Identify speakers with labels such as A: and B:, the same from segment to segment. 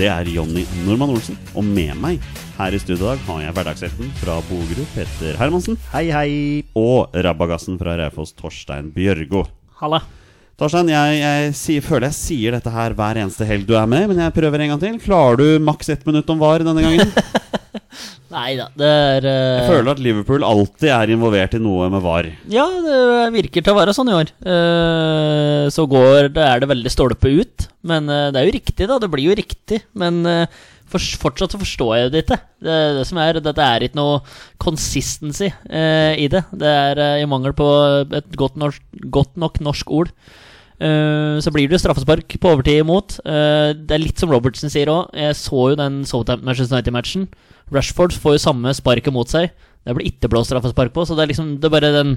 A: det er Jonny Normann Olsen, og med meg her i studio i dag har jeg hverdagshelten fra Bogerud, Petter Hermansen,
B: Hei, hei.
A: og rabagassen fra Raufoss, Torstein Bjørgo.
B: Halla.
A: Torstein, jeg, jeg sier, føler jeg sier dette her hver eneste helg du er med, men jeg prøver en gang til. Klarer du maks ett minutt om VAR denne gangen?
C: Nei da, det er eh,
A: Jeg føler at Liverpool alltid er involvert i noe med VAR.
C: Ja, det virker til å være sånn i år. Eh, så går det, er det veldig stolpe ut. Men eh, det er jo riktig, da. Det blir jo riktig. Men eh, fors- fortsatt så forstår jeg det ikke. Det, det som er, det, det er ikke noe consistency eh, i det. Det er eh, i mangel på et godt, norsk, godt nok norsk ord. Eh, så blir det jo straffespark på overtid imot. Eh, det er litt som Robertsen sier òg. Jeg så jo den Southampton-Manchester United-matchen. Rashford får jo samme sparket mot seg. Det blir ikke blåst straffespark på, så det er liksom det er bare den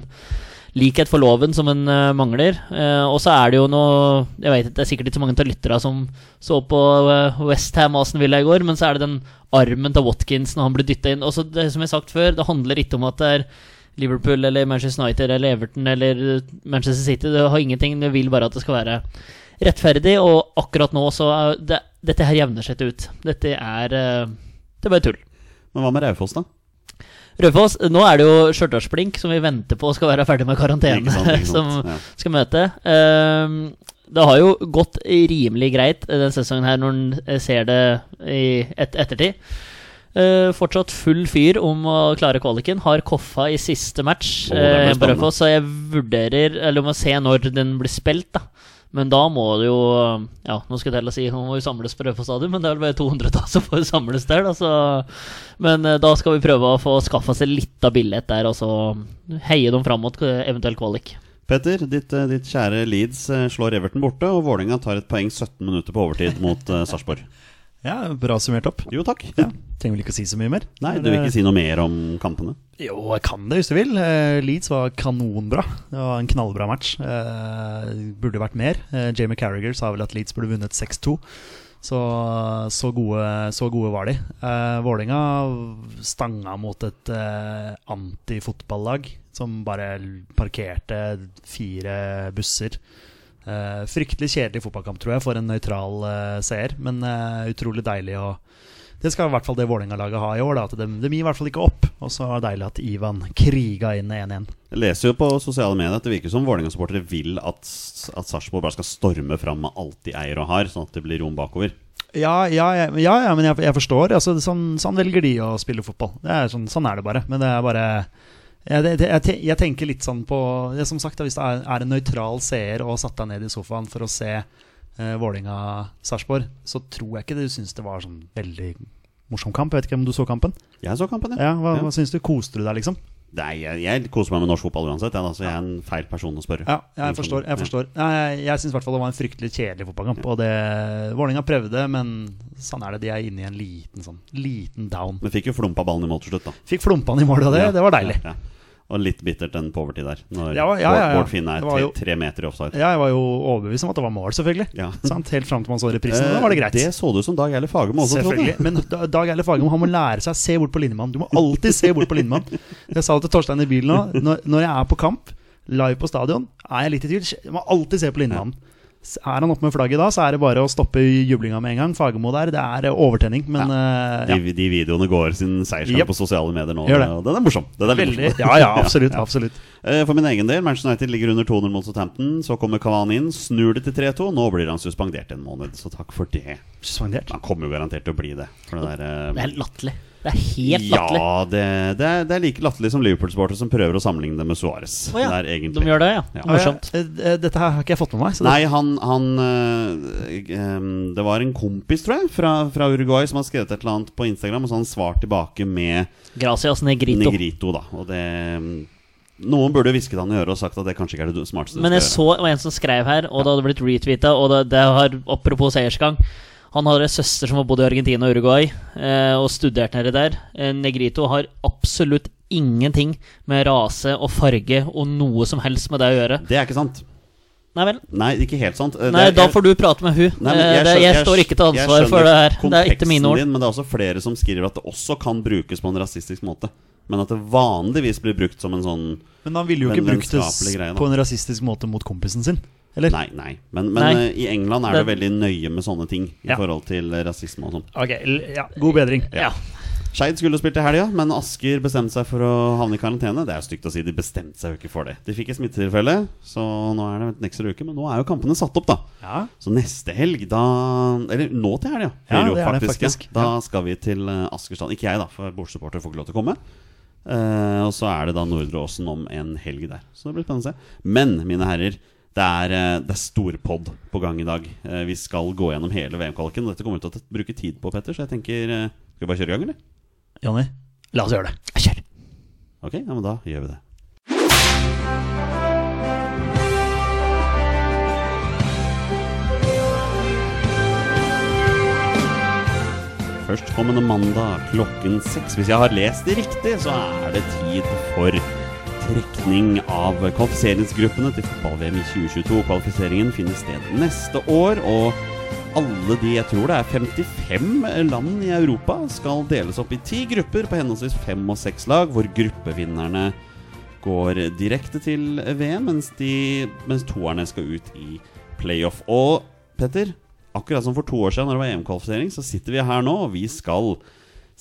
C: likhet for loven som en eh, mangler. Eh, og så er det jo noe Jeg vet ikke, det er sikkert ikke så mange av lytterne som så på uh, Westham Aston Villa i går, men så er det den armen til Watkins når han blir dytta inn. Og så det som jeg har sagt før, det handler ikke om at det er Liverpool eller Manchester United eller Everton eller Manchester City. Det har ingenting, det vil bare at det skal være rettferdig, og akkurat nå så er det, Dette her jevner seg ikke ut. Dette er eh, Det er bare tull.
A: Men hva med Raufoss, da?
C: Raufoss, nå er det jo Stjørdalsblink som vi venter på skal være ferdig med karantene.
A: Ikke sant, ikke sant?
C: som
A: Ja.
C: skal møte. Ehm, det har jo gått rimelig greit eh, den sesongen her, når en eh, ser det i et ettertid. Eh, fortsatt full fyr om å klare kvaliken. Har koffa i siste match,
A: Å, det blir
C: eh, på
A: spennende.
C: Raufoss, så jeg vurderer Eller må se når den blir spilt, da. Men da må det jo eh, Ja, nå skulle jeg til å si Hun må jo samles på Raufoss stadion, men det er vel bare 200 da som får samles der, da, så Men eh, da skal vi prøve å få skaffa seg litt av billett der, og så heie dem fram mot eh, eventuell kvalik.
A: Petter, ditt, eh, ditt kjære Leeds eh, slår Everton borte, og Vålerenga tar et poeng 17 minutter på overtid mot eh, Sarpsborg.
B: Ja, bra summert opp.
A: Jo takk.
B: Ja, Trenger vel ikke å si så mye mer? eh,
A: Nei, du vil ikke si noe mer om kampene?
B: Jo, jeg kan det hvis du vil. Eh, Leeds var kanonbra. Det var en knallbra match. Eh, burde vært mer. Eh, Jamie Carragher sa vel at Leeds burde vunnet 6-2. Så, så, gode, så gode var de. Eh, Vålinga stanga mot et eh, antifotballag som bare parkerte fire busser. Eh, fryktelig kjedelig fotballkamp, tror jeg, for en nøytral eh, seer. Men eh, utrolig deilig å det skal i hvert fall det Vålerenga-laget ha i år. Da, at de, de gir i hvert fall ikke opp. Og så er det deilig at Ivan kriga inn 1-1.
A: Jeg leser jo på sosiale medier at det virker som Vålerenga-supportere vil at, at Sarpsborg bare skal storme fram med alt de eier og har, sånn at det blir rom bakover.
B: Ja, ja, ja, ja, ja men jeg, jeg forstår. Altså, sånn, sånn velger de å spille fotball. Det er sånn, sånn er det bare. Men det er bare jeg, det- det- jeg, te- jeg tenker litt sånn på det, Som sagt, da, hvis det er, er en nøytral seer og satt deg ned i sofaen for å se eh, Vålerenga-Sarpsborg, så tror jeg ikke du syns det var sånn veldig morsom kamp. Jeg vet ikke om du så kampen?
A: Jeg så kampen, jeg.
B: Ja, Hva, hva syns du? Koste du deg, liksom?
A: Nei, jeg, jeg koser meg med norsk fotball uansett. Jeg, altså, jeg er en feil person å spørre.
B: Ja, jeg forstår. Jeg forstår Nei, Jeg, jeg syns i hvert fall det var en fryktelig kjedelig fotballkamp. Og det Vålerenga prøvde, men sånn er det. De er inne i en liten sånn Liten down.
A: Men fikk jo flumpa ballen i mål til slutt, da.
B: Fikk flumpa han i mål, og det,
A: Ja,
B: det var deilig.
A: Ja, ja. Og litt bittert den på overtid der, når
B: Ja, ja, ja, ja.
A: Bård Finn er
B: Det var
A: tre,
B: jo-
A: tre meter i offside.
B: Ja, jeg var jo overbevist om at det var mål, selvfølgelig.
A: Ja.
B: Sant? Helt fram til man så reprisen. og Da var det greit.
A: Eh, Det så det ut som Dag Eile Fagermo også, trodde
B: Selvfølgelig.
A: jeg.
B: Men Da- Dag Eile Fagermo han må lære seg å se bort på linjemann. Du må alltid se bort på linjemann. Jeg sa det til Torstein i bilen nå. Når, når jeg er på kamp, live på stadion, er jeg litt i tvil. Jeg må alltid se på linjemannen. S- Er han oppe med flagget da, så er det bare å stoppe jublinga med en gang. Fagermo der, det er eh, overtenning, men eh, ja.
A: De, de videoene går sin seierskamp
B: Jep.
A: på sosiale medier nå.
B: Gjør det.
A: Og den er morsom. Den er veldig
B: Veldig,
A: morsom.
B: ja, ja, absolutt. absolutt
A: Eh, For min egen del, Manchester United ligger under 2-0 mot Southampton. Så kommer Cavani inn, snur det til 3-2. Nå blir han suspendert en måned, så takk for det.
B: Suspendert.
A: Han kommer jo garantert til å bli det. For det der, eh,
C: Det er latterlig. Det er helt latterlig.
A: ja, det, det, er, det er like latterlig som Liverpool-sportere som prøver å sammenligne det med Suárez.
C: Å ja,
A: Det er egentlig-
C: De gjør det, ja.
A: Ja.
C: Morsomt.
B: Eh, eh, Dette her har ikke jeg fått med meg. Så det,
A: Nei, han, han øh, ehm, Det var en kompis, tror jeg, fra, fra Uruguay som har skrevet et eller annet på Instagram, og så har han svart tilbake med
C: Gracias negrito.
A: Negrito, da. Og det Noen burde hvisket han i øret og sagt at det kanskje ikke er det smarteste du
C: Men jeg
A: skal
C: så det var en som skrev her, og det hadde blitt retweeta, og det, det har, apropos seiersgang Han har en søster som har bodd i Argentina og Uruguay, eh, og studert nede der. Eh, Negrito har absolutt ingenting med rase og farge og noe som helst med det å gjøre.
A: gjøre. Det er ikke sant.
C: Nei vel.
A: Nei, ikke helt sant. Eh,
C: Nei,
A: det er-
C: da får du prate med hun.
A: Nei, men
C: Eh, det,
A: skjønner-
C: jeg står ikke til
A: jeg
C: ansvar for det
A: skjønner
C: her. Det er ikke mine
A: konteksten
C: ord.
A: Din, men det er også flere som skriver at det også kan brukes på en rasistisk måte. Men at det vanligvis blir brukt som en sånn
B: men han ville jo ikke
A: Men
B: brukt det
A: vennskapelig
B: s-
A: greie, da.
B: på en rasistisk måte mot kompisen sin. Eller?
A: Nei, nei. Men, men
C: Nei.
A: eh, i England er det
C: Det-
A: veldig nøye med sånne ting i
B: Ja.
A: forhold til rasisme og sånn.
B: Ok, l- ja, God bedring.
C: Ja.
A: Skeid skulle spilt i helga, men Asker bestemte seg for å havne i karantene. Det er jo stygt å si, de bestemte seg jo ikke for det. De fikk et smittetilfelle, så nå er det en ekstra uke. Men nå er jo kampene satt opp, da.
B: Ja.
A: Så neste helg, da Eller nå til helga, blir
B: Ja,
A: det jo
B: det er det
A: faktisk.
B: faktisk.
A: Ja. Da skal vi til eh, Asker stadion. Ikke jeg, da, for bortsupporter får ikke lov til å komme. Eh, og så er det da Nordre Åsen om en helg der. Så det blir spennende å se. Men, mine herrer, det er, eh, det er storpod på gang i dag. Eh, vi skal gå gjennom hele VM-kvaliken. Dette kommer vi til å bruke tid på, Petter, så jeg tenker eh, Skal vi bare kjøre i gang, eller?
B: Jonny, la oss gjøre det.
C: Kjør.
A: Ok, ja, men da gjør vi det. Førstkommende mandag klokken seks. Hvis jeg har lest det riktig, så er det tid for trekning av kvalifiseringsgruppene til fotball-VM i 2022. Kvalifiseringen finner sted neste år, og alle de, jeg tror det er 55 land i Europa, skal deles opp i ti grupper på henholdsvis fem og seks lag, hvor gruppevinnerne går direkte til VM, mens, de, mens toerne skal ut i playoff. Og Petter, akkurat som for to år siden når det var EM-kvalifisering, så sitter vi her nå, og vi skal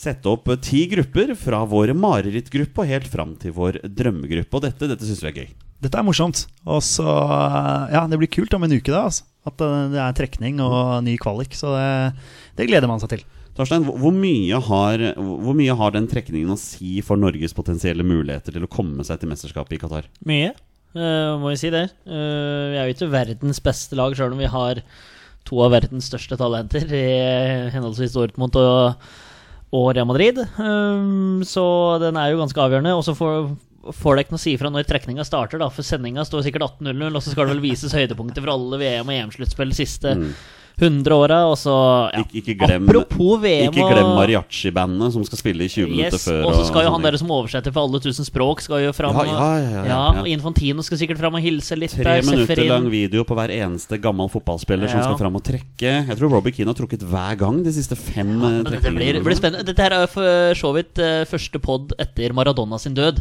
A: sette opp ti grupper fra vår marerittgruppe og helt fram til vår drømmegruppe. Og dette, dette syns vi er gøy.
B: Dette er morsomt. Og så eh, Ja, det blir kult om en uke, da. Altså. At eh, det er trekning og ny kvalik. Så det, det gleder man seg til.
A: Torstein, hvor- hvor mye, har, hvor mye har den trekningen å si for Norges potensielle muligheter til å komme seg til mesterskapet i Qatar?
C: Mye, eh, må jeg si det. Eh, vi er jo ikke verdens beste lag, sjøl om vi har to av verdens største talenter i henholdsvis Dortmund og, og Real Madrid. Eh, så den er jo ganske avgjørende. Og så får, får det ikke noe å si fra når trekninga starter, da, for sendinga står sikkert 18.00, og så skal det vel vises høydepunkter fra alle VM- og EM-sluttspill de siste 100 åra, og så ja.
A: Ikke- Mm. ikke glem-
C: Apropos VM
A: Ikke glem
C: og
A: mariachi-bandet som skal spille i 20 minutter
C: Yes,
A: før.
C: og så skal jo han
A: sånne
C: der som oversetter for alle tusen språk, skal jo fram.
A: Ja,
C: og-
A: ja, ja, ja, ja.
C: og Infantino skal sikkert fram og hilse litt.
A: Tre
C: der,
A: minutter
C: Seferin.
A: lang video på hver eneste gammel fotballspiller som
C: Ja.
A: skal fram og trekke. Jeg tror Robbie Keane har trukket hver gang de siste fem eh,
C: Men Dette
A: trekningene.
C: blir, blir spennende. Dette her er jo for så vidt eh, første pod etter Maradona sin død.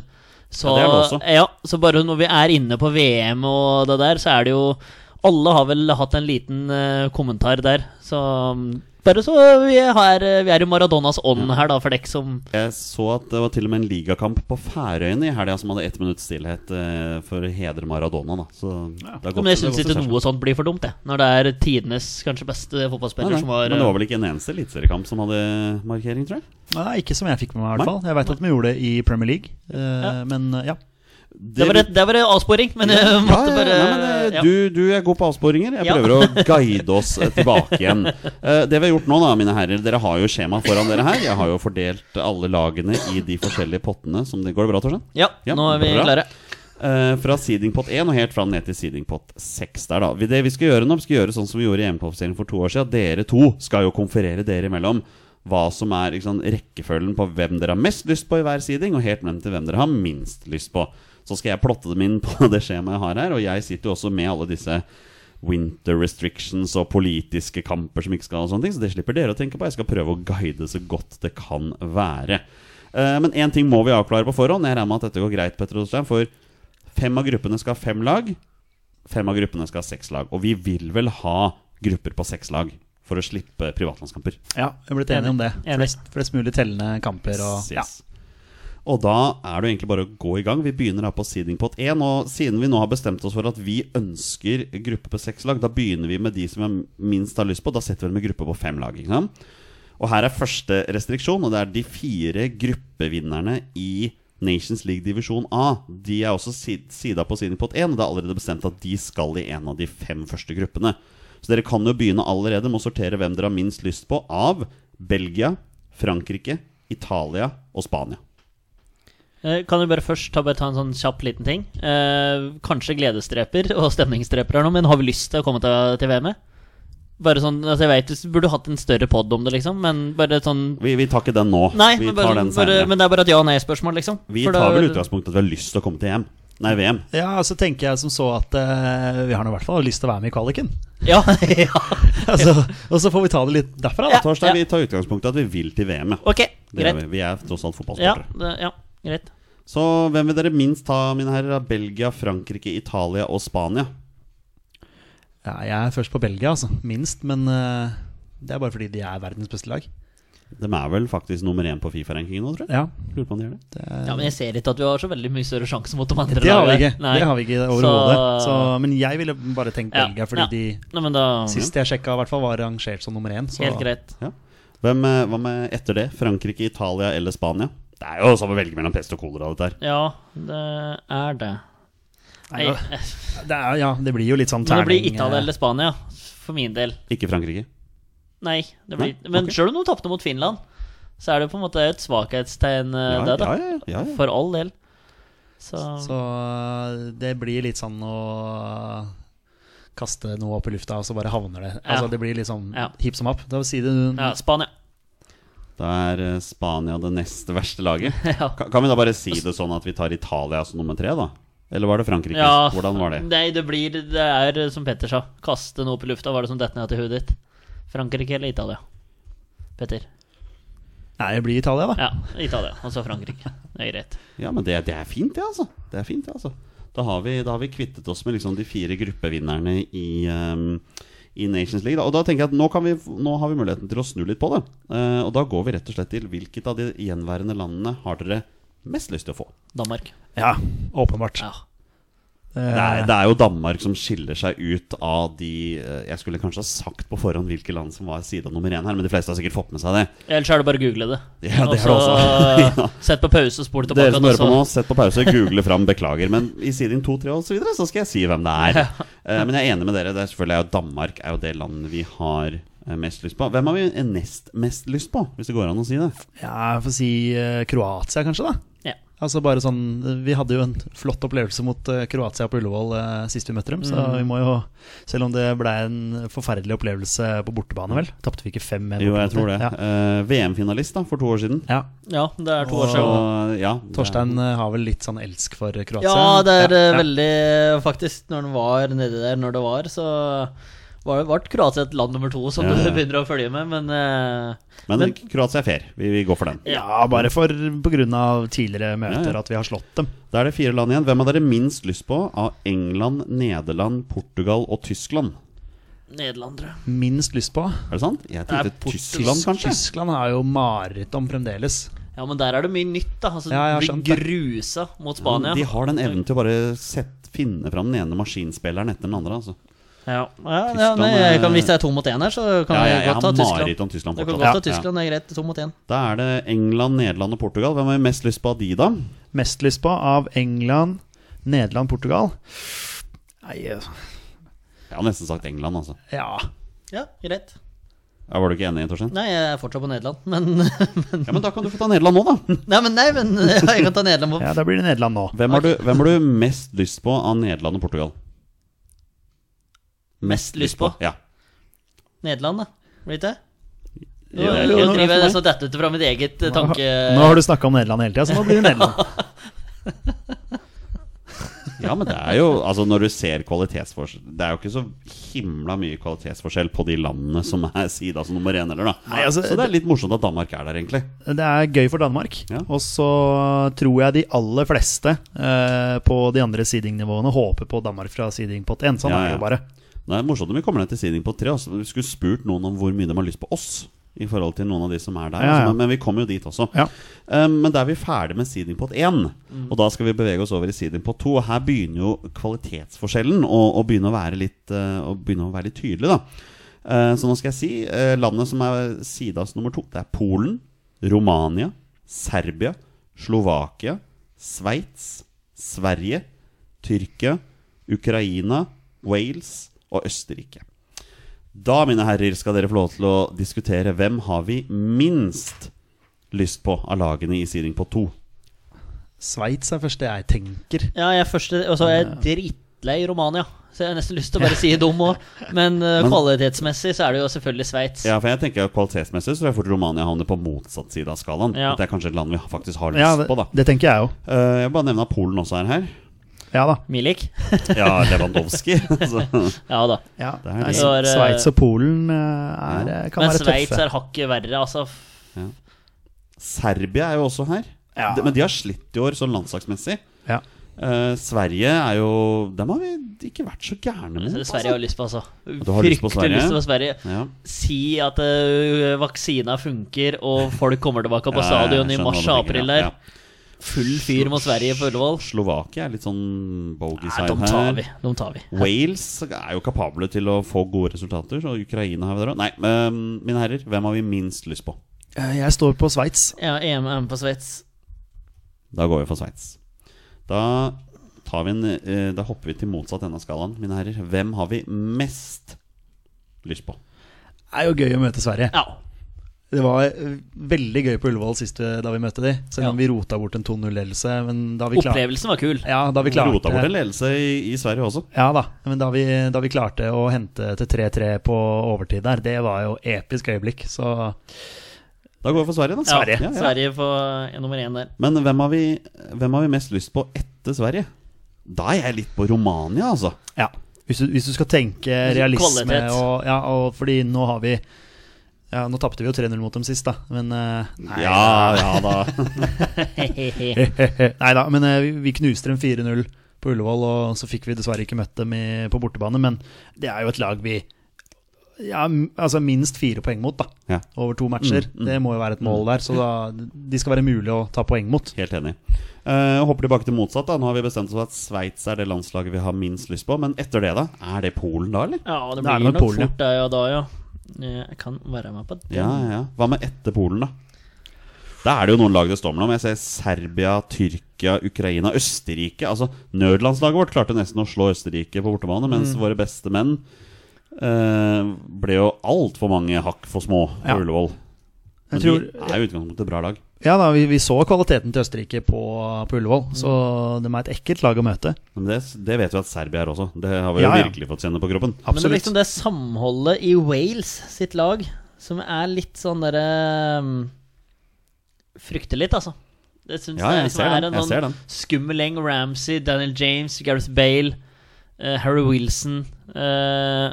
C: Så,
A: Ja, det er det også.
C: ja, så bare når vi er inne på VM og det der, så er det jo Alle har vel hatt en liten eh, kommentar der, så mm, bare så vi er, her, eh, vi er i Maradonas ånd her, da, for dere som
A: Jeg så at det var til og med en ligakamp på Færøyene i helga som hadde ett minutts stillhet eh, for å hedre Maradona. Da. Så det har gått- det har
C: Men jeg syns
A: gått
C: ikke
A: seg selv.
C: noe sånt blir for dumt, det. Når det er tidenes kanskje beste
A: Nei,
C: fotballspiller
A: nei.
C: som eh, var,
A: Men det var eh, vel ikke en eneste eliteseriekamp som hadde markering, tror jeg.
B: Nei, ikke som jeg fikk med meg,
A: Nei.
B: i hvert fall. Jeg veit at vi gjorde det i Premier League, eh,
C: Ja.
B: men eh, ja.
C: Det var, et, det var en avsporing, men jeg
A: Ja,
C: måtte
A: ja,
C: bare
A: nei, men, eh,
C: ja.
A: du, du er god på avsporinger. Jeg
C: Ja.
A: prøver å guide oss eh, tilbake igjen. Eh, Det vi har gjort nå, da, mine herrer Dere har jo skjema foran dere her. Jeg har jo fordelt alle lagene i de forskjellige pottene. Som det, går det bra, Torstein?
C: ja,
A: Ja,
C: nå er vi
A: bra.
C: klare.
A: Eh, fra seedingpott 1 og helt fram ned til seedingpott 6 der, da. Vi- Det vi skal gjøre nå, vi skal gjøre sånn som vi gjorde i EM-kvalifiseringen for to år siden. Dere to skal jo konferere dere imellom hva som er ikke sant, rekkefølgen på hvem dere har mest lyst på i hver seeding, og helt frem til hvem dere har minst lyst på. Så skal jeg plotte dem inn på det skjemaet jeg har her, og jeg sitter jo også med alle disse winter restrictions og politiske kamper som ikke skal og sånne ting, så det slipper dere å tenke på. Jeg skal prøve å guide så godt det kan være. Eh, men én ting må vi avklare på forhånd. Jeg regner med at dette går greit, Petter Ostein, for Fem av gruppene skal ha fem lag. Fem av gruppene skal ha seks lag. Og vi vil vel ha grupper på seks lag for å slippe privatlandskamper.
B: ja jeg er blitt enig om det.
C: Enig.
B: Flest, flest mulig tellende kamper og
A: Yes, yes. Og da er det jo egentlig bare å gå i gang. Vi begynner da på seedingpot 1. Og siden vi nå har bestemt oss for at vi ønsker gruppe på seks lag, da begynner vi med de som jeg minst har lyst på. Da setter vi dem i gruppe på fem lag. Ikke sant? Og her er første restriksjon, og det er de fire gruppevinnerne i Nations League divisjon A. De er også si- sida på Sinipot 1, og det er allerede bestemt at de skal i en av de fem første gruppene. Så dere kan jo begynne allerede med å sortere hvem dere har minst lyst på av Belgia, Frankrike, Italia og Spania.
C: Eh, Kan du bare først ta, bare ta en sånn kjapp liten ting? Eh, kanskje gledesdreper og stemningsdreper her nå, men har vi lyst til å komme til, til VM-et? Bare sånn, altså jeg vet, Du burde hatt en større pod om det, liksom, men bare sånn
A: Vi, vi tar ikke den nå.
C: Nei,
A: vi
C: men, bare,
A: tar den
C: bare,
A: senere.
C: men det er bare et ja- og nei-spørsmål, liksom.
A: Vi
C: For da-
A: tar vel utgangspunkt i at vi har lyst til å komme til EM. Nei, VM.
B: Ja, så tenker jeg som så at eh, vi har nå i hvert fall lyst til å være med i kvaliken.
C: Ja, ja.
B: Altså, og så får vi ta det litt derfra, da.
C: Ja.
A: Torstein, vi tar utgangspunkt i at vi vil til VM. ja.
C: Ok,
A: Det gjør
C: greit.
A: vi. vi er tross alt
C: Ja,
A: fotballsportere.
C: det- ja, greit.
A: Så hvem vil dere minst ta, mine herrer? av Belgia, Frankrike, Italia og Spania?
B: Ja, jeg er først på Belgia, altså. Minst, men eh, det er bare fordi de er verdens beste lag.
A: De er vel faktisk nummer én på Fifa-rankingen nå, tror jeg.
B: Ja,
A: Lurer på om de gjør det.
C: Ja, Men jeg ser ikke at vi har så veldig mye større sjanse mot de andre.
B: Det har vi
C: lagene.
B: ikke. Det har vi ikke overhodet.
C: Så-
B: Så, men jeg ville bare tenkt
C: Ja,
B: Belgia,
C: ja.
B: fordi de
C: Nei, men da
B: sist jeg sjekka, i hvert fall var rangert som nummer én. Så
C: Helt greit.
A: Ja. Hvem, eh, hva med etter det? Frankrike, Italia eller Spania? Det er jo som å velge mellom pest og kolera, dette her.
C: Ja, det er det. Nei,
B: Nei,
C: eh,
B: det, er, ja, det blir jo litt sånn
C: men det blir
B: terning,
C: Italia
B: eh,
C: eller Spania, for min del.
A: Ikke Frankrike.
C: Nei, det blir,
A: Nei,
C: men
A: ok.
C: selv om de tapte mot Finland, så er det på en måte et svakhetstegn, eh,
A: Ja,
C: det, da.
A: ja, ja, ja, ja.
C: For all del. Så,
B: Så det blir litt sånn å kaste noe opp i lufta, og så bare havner det.
C: Ja.
B: Altså Det blir litt sånn
C: Ja.
B: hipp som happ. Da sier du
C: ja, Spania.
A: Da er eh, Spania det nest verste laget.
C: Ja.
A: Ka- Kan vi da bare si det sånn at vi tar Italia som nummer tre, da? Eller var det Frankrike?
C: Ja,
A: Hvordan var det?
C: Nei, det blir Det er eh, som Petter sa. Kaste noe opp i lufta. Var det som detter ned til hodet ditt? Frankrike eller Italia? Petter.
B: Nei, det blir Italia, da.
C: Ja, Italia. Og så Frankrike. Det er greit.
A: Ja, men det, det er fint, det, altså. Det er fint, det, altså. Da har vi, da har vi kvittet oss med liksom de fire gruppevinnerne i, ehm, i Nations League. Da. Og da tenker jeg at nå, kan vi, nå har vi muligheten til å snu litt på det. Eh, og da går vi rett og slett til hvilket av de gjenværende landene har dere mest lyst til å få?
C: Danmark.
B: Ja, åpenbart. Eh,
C: Ja.
A: Det er, det er jo Danmark som skiller seg ut av de eh, Jeg skulle kanskje ha sagt på forhånd hvilke land som var sida nummer én her, men de fleste har sikkert fått med seg det.
C: Ellers er det bare å google det.
A: Ja, det er det
C: så,
A: også. Ja.
C: Sett på pause og spol tilbake. altså.
A: Dere som
C: og
A: hører på
C: så-
A: nå, sett på pause, google fram 'beklager'. Men i siden 2-3 og så videre, så skal jeg si hvem det er. Eh, Men jeg er enig med dere. Det er selvfølgelig er jo Danmark er jo det landet vi har eh, mest lyst på. Hvem har vi nest mest lyst på, hvis det går an å si det?
B: Ja, jeg får si eh, Kroatia, kanskje, da.
C: Ja.
B: Altså bare sånn eh, Vi hadde jo en flott opplevelse mot eh, Kroatia på Ullevål eh, sist vi møtte dem,
C: Mm.
B: så vi må jo Selv om det ble en forferdelig opplevelse på bortebane, vel. Tapte vi ikke 5-1?
A: Jo, jeg tror det.
B: Ja.
A: Eh, VM-finalist da, for to år siden.
B: ja.
C: ja, det er to år
A: Så
C: siden.
A: ja.
B: Torstein eh, har vel litt sånn elsk for Kroatia?
C: Ja, det er eh,
B: Ja.
C: veldig Faktisk, når den var nedi der når det var, så var det ble Kroatia et land nummer to som
A: Ja, ja.
C: du begynner å følge med, men eh,
A: Men,
C: Men-
A: Kroatia er fair. Vi, vi går for den.
B: Ja, bare for pga. tidligere møter
A: Ja, ja.
B: at vi har slått dem.
A: Da er det fire land igjen. Hvem har dere minst lyst på av England, Nederland, Portugal og Tyskland?
C: Nederland, tror jeg.
B: Minst lyst på.
A: Er det sant? Jeg
C: Det er
A: tenkte
C: Portugal.
A: Tyskland, kanskje.
B: Tyskland har jo mareritt om fremdeles.
C: Ja, men der er det mye nytt, da. Altså,
B: Ja,
C: du
B: jeg har skjønt
C: blir
B: det.
C: grusa mot Spania.
A: De har den evnen til å bare sette, finne fram den ene maskinspilleren etter den andre. Altså.
C: Ja, ja, ja
A: Tyskland
C: nei,
A: er-
C: jeg kan, Hvis det er to mot én her, så kan
A: Ja,
C: vi
A: jeg, jeg
C: godt ta
A: har mareritt
C: Tyskland.
A: om Tyskland
C: Du kan
A: fortsatt.
C: godt ta
A: Ja,
C: Tyskland, det er greit. To mot én.
A: Ja. Da er det England, Nederland og Portugal. Hvem har vi mest lyst på av de, da?
B: Mest lyst på av England, Nederland, Portugal. Nei, eh,
A: Jeg har nesten sagt England, altså.
B: ja
C: Ja, greit.
A: Ja, var du ikke enig, Torstein?
C: Nei, jeg er fortsatt på Nederland, men
A: Ja, men da kan du få ta Nederland nå, da.
C: Nei, men, nei, men ja, jeg kan ta Nederland på
B: Ja, Da blir det Nederland nå.
A: Hvem har du, hvem har du mest lyst på av Nederland og Portugal?
C: Mest lyst på?
A: Ja.
C: Nederland, da. Blir det ikke det? Nå,
A: Jo,
C: nå,
A: jo, nå-
C: driver jeg så dette ut fra mitt eget eh, tanke...
B: Nå har du snakka om Nederland hele tida, så nå blir det Nederland.
A: ja, men det er jo Altså, når du ser kvalitetsforskjell Det er jo ikke så himla mye kvalitetsforskjell på de landene som er sida som nummer én, eller, da.
B: Nei, altså,
A: så det er litt morsomt at Danmark er der, egentlig.
B: Det er gøy for Danmark.
A: Ja.
B: Og så tror jeg de aller fleste eh, på de andre seedingnivåene håper på Danmark fra seedingpott 1. Sånn
A: Ja,
B: er det
A: ja.
B: jo bare.
A: Det er morsomt om vi kommer ned til siding på tre. Altså. Vi skulle spurt noen om hvor mye de har lyst på oss i forhold til noen av de som er der.
B: Ja, ja.
A: altså, men, men vi kommer jo dit også.
B: Ja. Mm.
A: Eh, men da er vi ferdig med seedingpot 1, og da skal vi bevege oss over i seedingpot 2. Og her begynner jo kvalitetsforskjellen å, å begynne å være litt, eh, å begynne å være litt tydelig. da. Eh, Så nå skal jeg si eh, landet som er Sidas nummer to. Det er Polen, Romania, Serbia, Slovakia, Sveits, Sverige, Tyrkia, Ukraina, Wales og Østerrike. Da, mine herrer, skal dere få lov til å diskutere hvem har vi minst lyst på av lagene i seeding på to.
B: Sveits er første jeg tenker.
C: Ja, jeg er første, og så er jeg drittlei Romania. Så jeg har nesten lyst til å bare si dum òg. Men eh,
A: Men-
C: kvalitetsmessig så er det jo selvfølgelig Sveits.
A: Ja, for jeg tenker at Kvalitetsmessig så tror jeg fort Romania havner på motsatt side av skalaen.
C: Ja.
A: Dette er kanskje et land vi faktisk har lyst
B: Ja, det,
A: på, da.
B: det tenker jeg òg.
A: Eh, jeg vil bare nevne at Polen også er her.
B: Ja da.
C: Milik.
A: Ja, Lewandowski. altså.
C: Ja da.
B: Ja.
A: Det er
B: Nei,
A: det.
B: S-
C: Det er, eh,
B: Sveits og Polen eh, er, eh, kan
C: Men
B: være
C: Sveits
B: tøffe.
C: er hakket verre, altså.
A: Serbia er jo også her.
B: Ja.
A: De, men de har slitt i år, sånn landslagsmessig.
B: Ja.
A: Eh, Sverige er jo Dem har vi ikke vært så gærne mot.
C: Så Sverige har lyst på, altså.
A: du har lyst på Sverige?
C: lyst på Sverige.
A: Ja.
C: Si at eh, vaksina funker, og folk kommer tilbake på
A: Ja, ja, jeg
C: stadion i
A: skjønner
C: mars
A: hva
C: og
A: du tenker,
C: april
A: ja,
C: der. Full fyr mot Sverige på Ullevål.
A: Slovakia er litt sånn bogus
C: Nei, de tar vi. De tar vi.
A: Wales er jo kapable til å få gode resultater, så Ukraina har vi der òg. Nei, eh, mine herrer, hvem har vi minst lyst på?
B: Eh, Jeg står på Sveits.
C: Ja, EM er med på Sveits.
A: Da går vi for Sveits. Da, tar vi en, eh, da hopper vi til motsatt ende av skalaen, mine herrer. Hvem har vi mest lyst på?
B: Det er jo gøy å møte Sverige.
C: Ja.
B: Det var eh, veldig gøy på Ullevål sist eh, da vi møtte de, selv om
C: Ja.
B: vi rota bort en 2-0-ledelse. Men da vi klarte
C: Opplevelsen var kul.
B: ja, da vi klarte,
A: Rota bort en ledelse i, i Sverige også.
B: Ja da, men da vi, da vi klarte å hente til 3-3 på overtid der, det var jo episk øyeblikk. Så
A: Da går vi for Sverige, da.
C: Ja,
A: Ja, ja.
C: Sverige på eh, nummer én der.
A: Men hvem har, vi, hvem har vi mest lyst på etter Sverige? Da er jeg litt på Romania, altså.
B: ja, hvis du, hvis du skal tenke realisme
C: Kvalitet.
B: og, ja, og fordi nå har vi ja, Nå tapte vi jo 3-0 mot dem sist, da, men eh, nei,
A: Ja, ja da.
C: Hehehe.
B: nei da, men eh, vi, vi knuste dem 4-0 på Ullevål, og så fikk vi dessverre ikke møtt dem i, på bortebane, men det er jo et lag vi ja, m- altså minst fire poeng mot, da.
A: Ja.
B: Over to matcher.
A: Mm, mm.
B: Det må jo være et mål der, så da, de skal være mulig å ta poeng mot.
A: Helt enig. Uh, hopper tilbake til motsatt. da Nå har vi bestemt oss for at Sveits er det landslaget vi har minst lyst på. Men etter det, da? Er det Polen, da, eller?
C: Ja, det
B: Da er det
C: blir
B: med
C: nok
B: Polen, ja.
C: fort da, ja, da, ja. Jeg kan være med på det.
A: Ja, ja. Hva med etter Polen, da? Da er det jo noen lag det står mellom. Jeg ser Serbia, Tyrkia, Ukraina, Østerrike. Altså, Nødlandslaget vårt klarte nesten å slå Østerrike på bortebane, mens
B: Mm.
A: våre beste menn eh, ble jo altfor mange hakk for små på
B: Ja.
A: Ullevål. Men
B: Jeg tror,
A: de er jo i utgangspunktet et bra lag.
B: ja da, vi, vi så kvaliteten til Østerrike på, på Ullevål, så de er et ekkelt lag å møte.
A: Men det, det vet vi at Serbia er også. Det har vi
B: Ja,
A: jo
B: ja.
A: virkelig fått kjenne på kroppen.
C: Men det er
B: Absolutt.
C: liksom det samholdet i Wales sitt lag som er litt sånn derre um, Frykter litt, altså. Det syns
A: Ja,
C: jeg,
A: jeg
C: liksom
A: ser
C: er
A: den.
C: en
A: Jeg
C: sånn
A: ser den.
C: skummel gjeng. Ramsey, Daniel James, Gareth Bale, eh, Harry Wilson uh,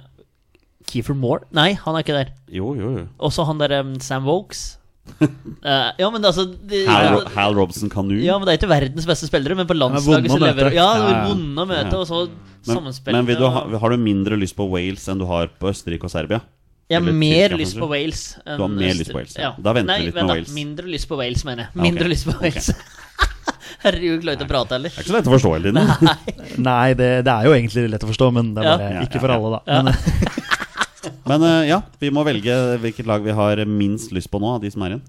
C: Keefer Moore? Nei, han er ikke der.
A: Jo, jo, jo.
C: Også han derre um, Sam Wokes. Eh, ja, men altså de,
A: Hal, Ro- Hal Robson Kanu.
C: Ja, men Det er ikke verdens beste spillere, men på landslaget
B: vonde
C: så
B: å møte.
C: leverer Ja,
B: Ja, ja.
C: vonde å møte,
A: Ja.
C: og så
A: men
C: sammenspillende.
A: men vil du ha,
C: og-
A: har du mindre lyst på Wales enn du har på Østerrike og Serbia?
C: Jeg har
A: Eller
C: mer
A: Tyrkia,
C: lyst
A: kanskje?
C: på Wales. enn
A: Du har mer
C: Øster-
A: lyst på Wales, ja. Da venter vi
C: Nei,
A: litt
C: vent
A: med
C: da.
A: Wales.
C: Mindre lyst på Wales, mener jeg.
A: ok.
C: Mindre lyst på
A: Ok.
C: Wales. Herregud, klarer ikke å prate heller.
A: Det er ikke så lett å forstå hele tiden.
B: Nei, det, det er jo egentlig lett å forstå, men det er
C: Ja.
B: bare
A: Ja, ja,
B: ikke for
A: ja.
B: alle, da. Men, eh,
A: Men eh, ja, vi må velge hvilket lag vi har minst lyst på nå, av de som er igjen.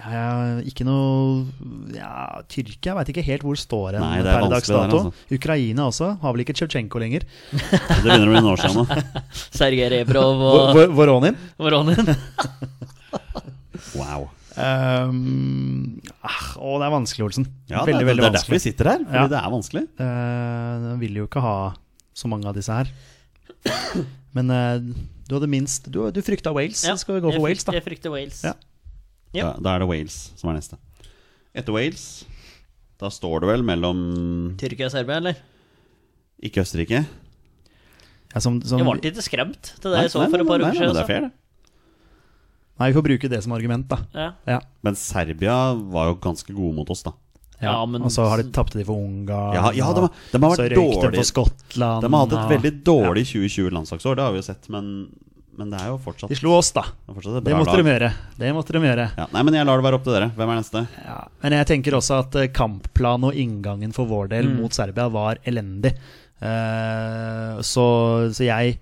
B: ja, ja, ikke noe ja, Tyrkia veit ikke helt hvor står en
A: Nei, det er
B: per dags
A: vanskelig der,
B: dato.
A: altså.
B: Ukraina også. Har vel ikke Tsjetsjenko lenger.
A: Det begynner å bli noen år siden nå.
C: Sergej Rebrov
B: Vor-
C: og
B: Vor- Voronin.
C: Voronin.
A: Wow.
B: Ehm, ah, å, det er vanskelig, Olsen.
A: Ja,
B: veldig,
A: det, er-
B: veldig
A: det er derfor vi
B: vanskelig.
A: sitter her, fordi
B: Ja.
A: det er vanskelig.
B: Eh, de vil jo ikke ha så mange av disse her. Men eh, du hadde minst Du, du frykta Wales, så skal vi gå
C: jeg
B: for Wales, da.
C: frykter- Jeg frykter Wales.
B: Ja.
C: Ja.
A: Da, da er det Wales som er neste. Etter Wales, da står det vel mellom
C: Tyrkia og Serbia, eller?
A: Ikke Østerrike.
B: Ja, som, som,
C: Jeg ble ikke skremt til det
A: Nei,
C: jeg så
A: nei,
C: for
A: nei,
C: et par
A: nei, nei, men det er
C: uker siden. altså.
A: fair, det.
B: Nei, vi får bruke det som argument, da.
C: altså. Ja.
B: Ja,
A: Men Serbia var jo ganske gode mot oss, da.
C: Ja, men-
B: Og så har de tapte de for Ungarn.
A: Ja, ja de, har, de
B: og
A: har vært
B: så røyk de for
A: dårlige.
B: Skottland.
A: De har hatt et
B: og-
A: veldig dårlig 2020-landslagsår, det har vi jo sett. Men, Men det er jo fortsatt,
B: De slo oss, da.
A: det er fortsatt et
B: Det
A: bra
B: måtte de
A: lag.
B: gjøre. Det måtte de gjøre.
A: Ja, nei, men jeg lar det være opp til dere. Hvem er neste?
B: Ja, men jeg tenker også at eh, kampplanen og inngangen for vår del
C: Mm.
B: mot Serbia var elendig. Eh, så, så jeg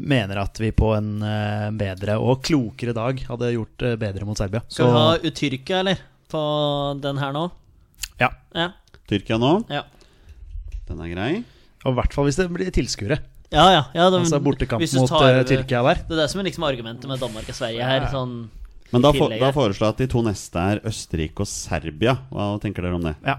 B: mener at vi på en eh, bedre og klokere dag hadde gjort det bedre mot Serbia.
C: Skal
B: Så-
C: vi ha Utyrkia, eller? På den her nå?
B: Ja.
C: Ja.
A: Tyrkia nå.
C: Ja,
A: Den er grei.
B: Og i hvert fall hvis det blir tilskuere.
C: ja. ja, ja det,
B: Altså bortekamp
C: hvis du
B: mot
C: tar-
B: eh, Tyrkia der.
C: Det er det som er liksom argumentet med Danmark og Sverige her. Sånn,
A: Men da,
C: I
A: for,
C: tillegg,
A: da
C: ja.
A: foreslår jeg at de to neste er Østerrike og Serbia. Hva tenker dere om det?
B: Ja,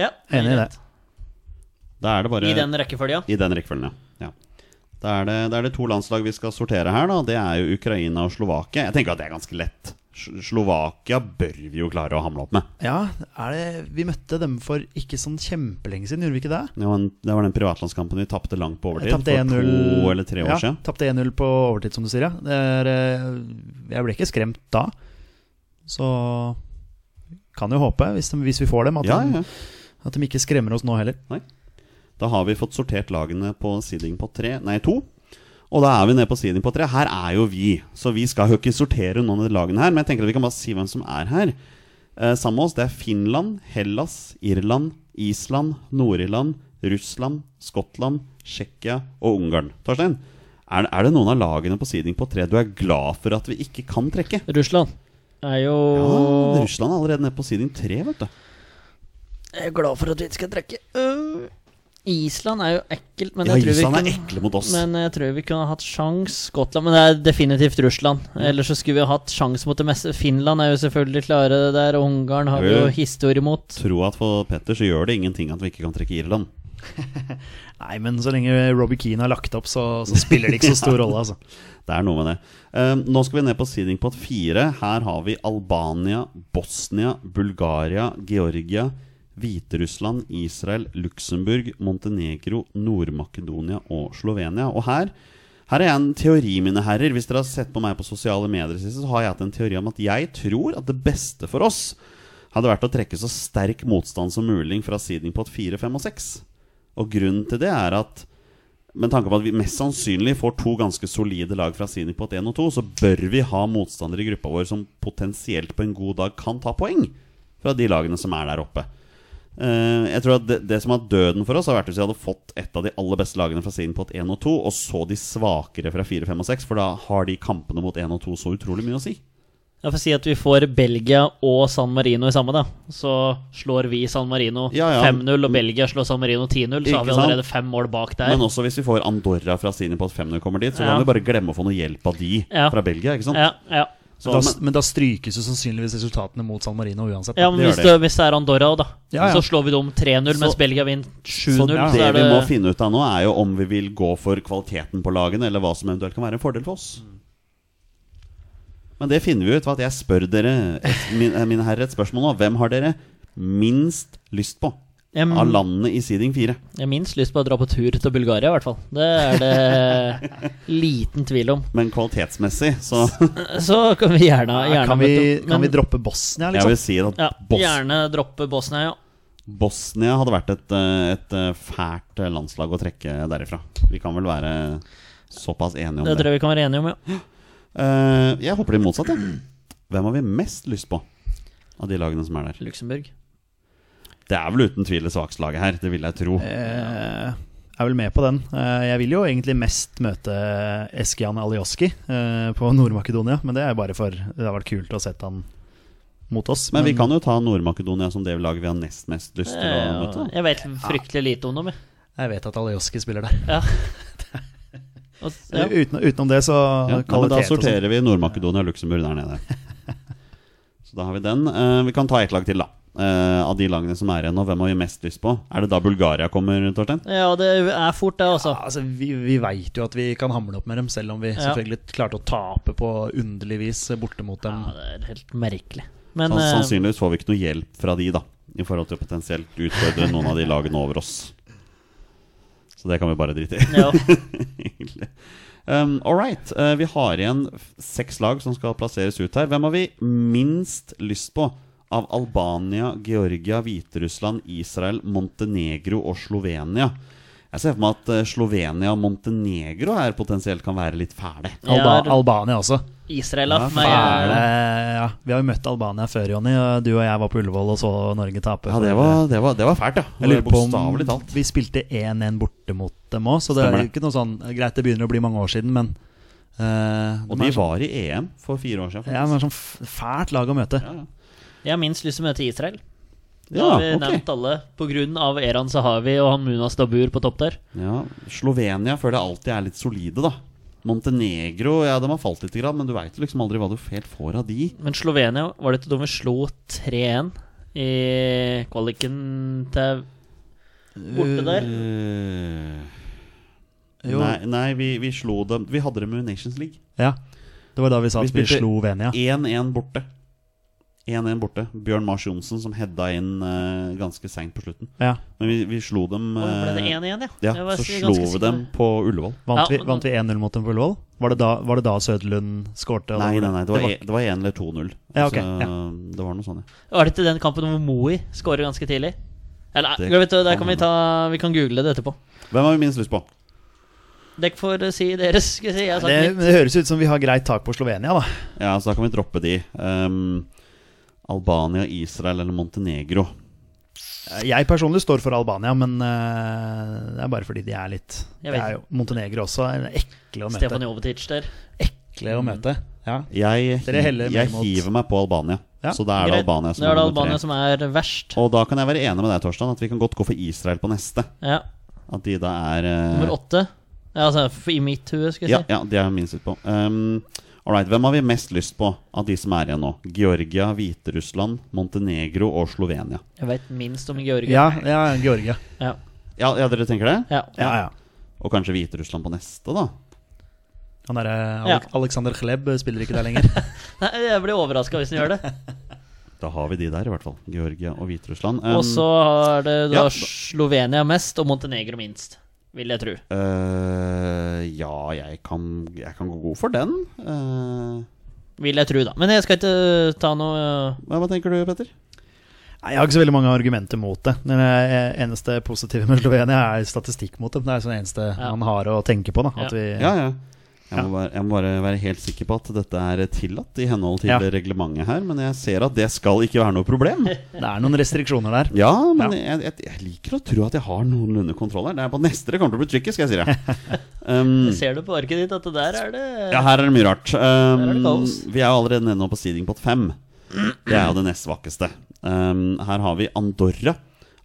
C: ja,
B: enig i det.
C: greit.
A: Da er det bare
C: I den rekkefølgen.
A: I den rekkefølgen, ja. ja. Da, er det, da er det to landslag vi skal sortere her, da. Det er jo Ukraina og Slovakia. Jeg tenker at det er ganske lett. Sl- Slovakia bør vi jo klare å hamle opp med.
B: Ja, er det, vi møtte dem for ikke sånn kjempelenge siden, gjorde vi ikke det?
A: Det var, en, det var den privatlandskampen vi tapte langt på overtid.
B: Tapte
A: For
B: 1-0.
A: to eller tre år
B: ja,
A: siden.
B: Tapte 1-0 på overtid, som du sier, ja. Det er, eh, jeg ble ikke skremt da. Så kan jo håpe, hvis, de, hvis vi får dem, at,
A: Ja,
B: de,
A: ja.
B: at de ikke skremmer oss nå heller.
A: Da har vi fått sortert lagene på seeding på tre, nei to. Og da er vi nede på seeding på tre. Her er jo vi, så vi skal jo ikke sortere noen av de lagene her. Men jeg tenker at vi kan bare si hvem som er her. Eh, sammen med oss, det er Finland, Hellas, Irland, Island, Nord-Irland, Russland, Skottland, Tsjekkia og Ungarn. Torstein, er, er det noen av lagene på seeding på tre du er glad for at vi ikke kan trekke?
C: Russland er jo
A: Ja, Russland er allerede nede på seeding tre, vet du.
C: Jeg er glad for at vi ikke skal trekke. Øh, Island er jo ekkelt, men
A: Ja,
C: jeg tror vi
A: Island er
C: kunne-
A: ekle mot oss.
C: Men jeg tror vi kunne hatt sjans Skottland, men det er definitivt Russland.
B: Mm.
C: Ellers så skulle vi ha hatt sjans mot det meste. Finland er jo selvfølgelig klare det der. og Ungarn har vi jo
A: Ja.
C: historie mot.
A: Tro at for Petter så gjør det ingenting at vi ikke kan trekke Irland.
B: Nei, men så lenge Robbie Keane har lagt opp, så, så spiller det ikke så stor rolle, altså.
A: Det er noe med det. Eh, nå skal vi ned på seeding pot fire. Her har vi Albania, Bosnia, Bulgaria, Georgia, Hviterussland, Israel, Luxembourg, Montenegro, Nord-Makedonia og Slovenia. Og her her er jeg en teori, mine herrer. Hvis dere har sett på meg på sosiale medier, i det siste, så har jeg hatt en teori om at jeg tror at det beste for oss hadde vært å trekke så sterk motstand som mulig fra seeding pot fire, fem og seks. Og grunnen til det er at med tanke på at vi mest sannsynlig får to ganske solide lag fra Sinipot 1 og 2, så bør vi ha motstandere i gruppa vår som potensielt på en god dag kan ta poeng fra de lagene som er der oppe. Eh, jeg tror at det, det som har døden for oss, har vært hvis vi hadde fått et av de aller beste lagene fra Sinipot 1 og 2, og så de svakere fra 4, 5 og 6, for da har de kampene mot 1 og 2 så utrolig mye å si.
C: Jeg får si at vi får Belgia og San Marino i samme, da. Så slår vi San Marino
A: Ja, ja.
C: 5-0, og Belgia slår San Marino 10-0. Så har
A: Ikke
C: vi
A: sant?
C: allerede fem mål bak der.
A: Men også hvis vi får Andorra fra Sinipot 5 når vi kommer dit, så
C: Ja.
A: kan vi bare glemme å få noe hjelp av de
C: Ja.
A: fra Belgia, ikke sant?
C: ja, ja.
A: Så,
B: da,
A: men,
B: men da strykes jo sannsynligvis resultatene mot San Marino uansett.
C: ja, men
A: det
C: hvis
A: gjør
C: det, hvis det er Andorra òg, da.
B: Ja, ja.
C: Så slår vi dem 3-0, mens
A: Så-
C: Belgia vinner 7-0.
A: Så
C: Så,
A: det
C: er
A: vi
C: det
A: må finne ut av nå, er jo om vi vil gå for kvaliteten på lagene, eller hva som eventuelt kan være en fordel for oss. Men det finner vi ut ved at jeg spør dere, et, min, eh, mine herrer, et spørsmål nå. Hvem har dere minst lyst på
C: jeg,
A: av landene i seeding 4?
C: jeg har minst lyst på å dra på tur til Bulgaria, i hvert fall. Det er det liten tvil om.
A: Men kvalitetsmessig, så
C: Så kan vi gjerne,
B: Ja,
C: gjerne
B: kan,
C: møte
B: vi,
C: opp,
B: kan vi
C: men-
B: droppe Bosnia,
A: jeg
B: liksom?
A: vil si at
C: ja,
A: Bos
C: Gjerne droppe Bosnia, ja.
A: Bosnia hadde vært et, eh, et eh, fælt landslag å trekke derifra. Vi kan vel være såpass enige om
C: Det
A: det.
C: tror jeg vi kan være enige om, ja.
A: Eh, jeg håper det motsatte. Hvem har vi mest lyst på av de lagene som er der?
C: Luxembourg.
A: Det er vel uten tvil det svakeste laget her, det vil jeg tro.
B: Eh, jeg er vel med på den. Eh, jeg vil jo egentlig mest møte Eskian Alioski eh, på Nord-Makedonia, men det er bare for Det har vært kult å sett han mot oss.
A: Men vi kan jo ta Nord-Makedonia som det laget vi har nest mest lyst til å møte. da.
C: Eh, Jeg vet fryktelig lite om dem, jeg.
B: Jeg vet at Alioski spiller der.
C: Ja. Og, ja.
B: Uten, utenom det, så
A: Ja, nei, men da
B: kvalitet og sånn. sånt.
A: sorterer vi Nord-Makedonia og Luxembourg der nede. Så da har vi den. Eh, vi kan ta ett lag til, da. Eh, av de lagene som er igjen nå, hvem har vi mest lyst på? Er det da Bulgaria kommer, Torstein?
C: ja, det er fort, det, altså.
B: Ja, altså, vi vi veit jo at vi kan hamle opp med dem, selv om vi
C: Ja.
B: selvfølgelig klarte å tape på underlig vis borte mot dem.
C: Ja, det er helt merkelig. Men
A: Sann-
C: eh,
A: Sannsynligvis får vi ikke noe hjelp fra de, da. I forhold til å potensielt utfordre noen av de lagene over oss. Så det kan vi bare drite i.
C: ja.
A: Egentlig. Um, All right. eh, vi har igjen f- seks lag som skal plasseres ut her. Hvem har vi minst lyst på av Albania, Georgia, Hviterussland, Israel, Montenegro og Slovenia? Jeg ser for meg at eh, Slovenia og Montenegro her potensielt kan være litt fæle.
B: Alba
C: Jeg har-
B: Albania også.
C: Israel, da.
A: Ja,
C: Nei,
A: faen.
C: jeg-
B: Fæle, ja. Vi har jo møtt Albania før, Jonny. og Du og jeg var på Ullevål og så Norge tape.
A: Ja, det
B: for-
A: var, det var, det var fælt, ja.
B: Jeg lurer på
A: Bokstavelig
B: om
A: talt.
B: vi spilte 1-1 borte mot dem òg, så det
A: Stemmer
B: er jo
A: det.
B: ikke noe sånn Greit, det begynner å bli mange år siden, men eh,
A: Og
B: de
A: de
B: er sånn-
A: var i EM for fire år siden.
B: ja, de er sånn f- fælt lag å møte.
A: Ja, ja.
C: jeg har minst lyst til å møte Israel. Da
A: Ja,
C: har vi
A: ok.
C: nevnt alle. På grunn av Eran Sahavi og han Munas Dabur på topp der.
A: Ja, Slovenia føler jeg alltid er litt solide, da. Montenegro ja, de har falt litt, men du veit liksom aldri hva du helt får av de.
C: Men Slovenia var det ikke de vi slo 3-1 i kvaliken til
A: Mm,
C: borte der?
A: Eh,
B: Jo.
A: Nei, nei vi, vi slo dem Vi hadde dem i Nations League.
B: Ja. Det var da vi sa
A: Vi
B: at vi
A: spilte-
B: slo Venia.
A: 1-1 borte. 1-1 borte. Bjørn Mars Johnsen som heada inn eh, ganske seint på slutten.
B: Ja.
A: Men vi, vi slo dem
C: Å, ble det
A: eh,
C: 1-1, ja?
A: Ja,
C: Jeg var
A: så
C: ganske
A: slo vi
C: sikker.
A: dem på Ullevål.
B: Vant
C: Ja,
B: vi,
C: og-
B: vant vi 1-0 mot dem på Ullevål? Var det da, var det da Søderlund skårte? og
A: Nei, nei, nei, det var
B: det var-
A: 1 eller 2-0.
B: Ja, ok,
A: Så,
B: ja.
A: Det var noe sånt, ja.
C: Var det ikke den kampen hvor Moi skårer ganske tidlig? Eller,
A: Det
C: det, vet du, der
A: kan
C: kan vi, ta, vi kan google det etterpå.
A: Hvem har vi minst lyst på?
C: Dere får eh, si deres. Skal jeg si. Jeg har sagt
B: det,
C: mitt.
B: det høres ut som vi har greit tak på Slovenia, da.
A: Ja, så da kan vi droppe de. Um, Albania, Israel eller Montenegro.
B: Jeg personlig står for Albania, men eh, det er bare fordi de er litt
C: Jeg
B: Det
C: vet.
B: er jo Montenegro også. er Ekle å
C: Stefan
B: møte.
C: Jovetic der.
B: Ekle å møte. Ja.
A: Jeg,
B: Dere heller mer
A: jeg
B: mot-
A: hiver meg på Albania.
B: Ja,
A: Så da er det
C: Greit.
A: Albania som
C: Da er det
A: nummer
C: Albania
A: tre.
C: som er verst.
A: Og da kan jeg være enig med deg, Torstein, at vi kan godt gå for Israel på neste.
C: Ja,
A: At de da er eh,
C: Nummer åtte. Ja, altså, for- I mitt hue, skal
A: Ja,
C: jeg si.
A: ja, det er jeg minst lyst på. Um, all right, hvem har vi mest lyst på av de som er igjen nå? Georgia, Hviterussland, Montenegro og Slovenia.
C: Jeg veit minst om Georgia.
B: Ja, ja, Georgia.
C: Ja.
A: Ja, ja dere tenker det?
C: Ja.
B: Ja, ja.
A: Og kanskje Hviterussland på neste, da?
B: Han derre
C: Ja.
B: Alek- Alexander Klebb spiller ikke der lenger.
C: Nei, jeg blir overraska hvis den gjør det.
A: Da har vi de der, i hvert fall. Georgia og Hviterussland. Um,
C: Og så har det da
A: ja.
C: Slovenia mest og Montenegro minst, vil jeg tro.
A: eh, ja, jeg kan, jeg kan gå god for den. Eh,
C: Vil jeg tro, da. Men jeg skal ikke ta noe
A: hva, hva tenker du, Petter?
B: Nei, Jeg har ikke så veldig mange argumenter mot det. Den eh, eneste positive med Slovenia er statistikk mot dem. Det er sånn det eneste
C: Ja.
B: han har å tenke på. Da. At
C: Ja.
B: vi,
A: Ja, ja. Jeg må, bare, jeg må bare være helt sikker på at dette er tillatt i henhold til
B: Ja.
A: reglementet her, men jeg ser at det skal ikke være noe problem.
B: Det er noen restriksjoner der.
A: Ja, men Jeg, jeg, jeg liker å tro at jeg har noenlunde kontroll her. Det er på neste det kommer til å bli tricky, skal jeg si deg. Um,
C: Ser du på arket ditt at det der er det
A: ja, her er det mye rart. Um,
C: Her er det kaos.
A: vi er jo allerede nede nå på seedingpot 5. Det er jo det nest svakeste. Um, her har vi Andorra,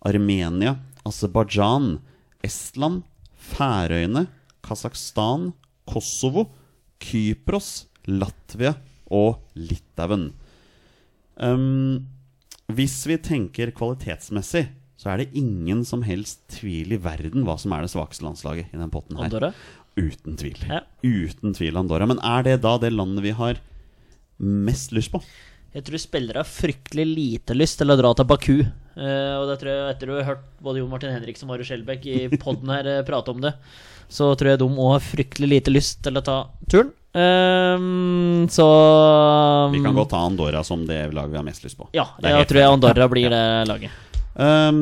A: Armenia, Aserbajdsjan, Estland, Færøyene, Kasakhstan, Kosovo, Kypros, Latvia og Litauen. Um, hvis vi tenker kvalitetsmessig, så er det ingen som helst tvil i verden hva som er det svakeste landslaget i den potten her.
C: Andorra?
A: Uten tvil.
C: Ja.
A: Uten tvil Andorra. Men er det da det landet vi har mest lyst på?
C: Jeg tror spillere har fryktelig lite lyst til å dra til Baku. Eh, og det tror jeg etter å ha hørt både Jon Martin Henriksen og Marius Skjelbæk i podden her eh, prate om det, så tror jeg de òg har fryktelig lite lyst til å ta turen. Eh, så
A: Vi kan godt ta Andorra som det laget vi har mest lyst på.
C: Um, ehm, Ja,
A: Det er
C: jeg
A: helt
C: tror jeg Andorra blir det laget.
A: Um,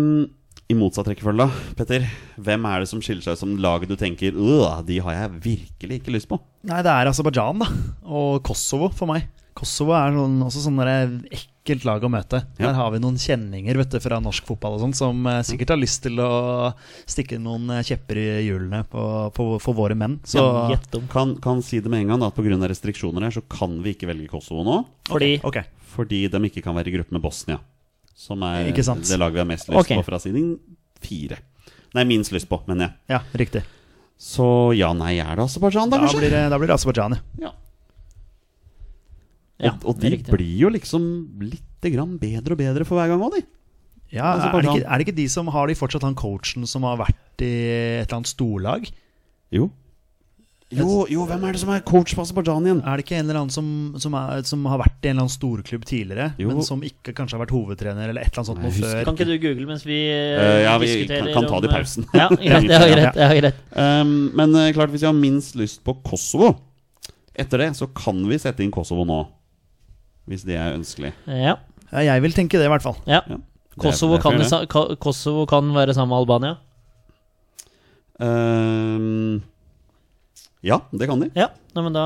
A: I motsatt rekkefølge, da, Petter. Hvem er det som skiller seg ut som laget du tenker «Øh, de har jeg virkelig ikke lyst på?
B: Nei, det er Aserbajdsjan da, og Kosovo for meg. Kosovo er sånn, også sånn der ekkelt lag å møte.
A: Ja.
B: Der har vi noen kjenninger vet du, fra norsk fotball og sånn, som eh, sikkert har lyst til å stikke noen eh, kjepper i hjulene på, på, for våre menn. Så
C: Gjett om.
A: Kan, kan si det med en gang da, at pga. restriksjoner her, så kan vi ikke velge Kosovo nå.
C: Fordi
B: ok,
A: Fordi de ikke kan være i gruppe med Bosnia. Som er
B: Ikke sant.
A: det laget vi har mest lyst
C: Ok.
A: på fra siden fire. Nei, minst lyst på, mener jeg.
B: ja, riktig.
A: Så ja, nei, er det Aserbajdsjan, da,
B: Da
A: kanskje?
B: blir det, da blir det Aserbajdsjan, ja.
A: Ja.
C: Ja,
A: og, og de
C: det er riktig.
A: blir jo liksom litt grann bedre og bedre for hver gang òg, de.
B: Ja,
A: Altså,
B: er det,
A: kanskje
B: ikke, er det ikke de som har de fortsatt han coachen som har vært i et eller annet storlag?
A: Jo. Jo, jo, hvem er det som er coach på Aserbajdsjan
C: Eh,
A: igjen?
B: Er det ikke en eller annen som, som, er, som har vært i en eller annen storklubb tidligere,
A: Jo.
B: men som ikke kanskje har vært hovedtrener eller et eller annet sånt
A: Nei,
B: noe
A: jeg husker
B: før?
C: Kan ikke du google mens vi
A: Eh, ja, vi
C: diskuterer
A: kan- kan ta det i
C: om, eh,
A: pausen.
C: Ja, greit, det er greit. Det er greit.
A: Um, men eh, klart, hvis vi har minst lyst på Kosovo etter det, så kan vi sette inn Kosovo nå. Hvis det er ønskelig.
C: Ja,
B: Ja, jeg vil tenke det, i hvert fall.
C: ja.
A: Ja. Det er-
C: Kosovo
A: det er
C: kan,
A: fair, det.
C: sa- Ka- Kosovo kan være sammen med Albania.
A: Ehm, ja, det kan de.
C: Ja, nei, men da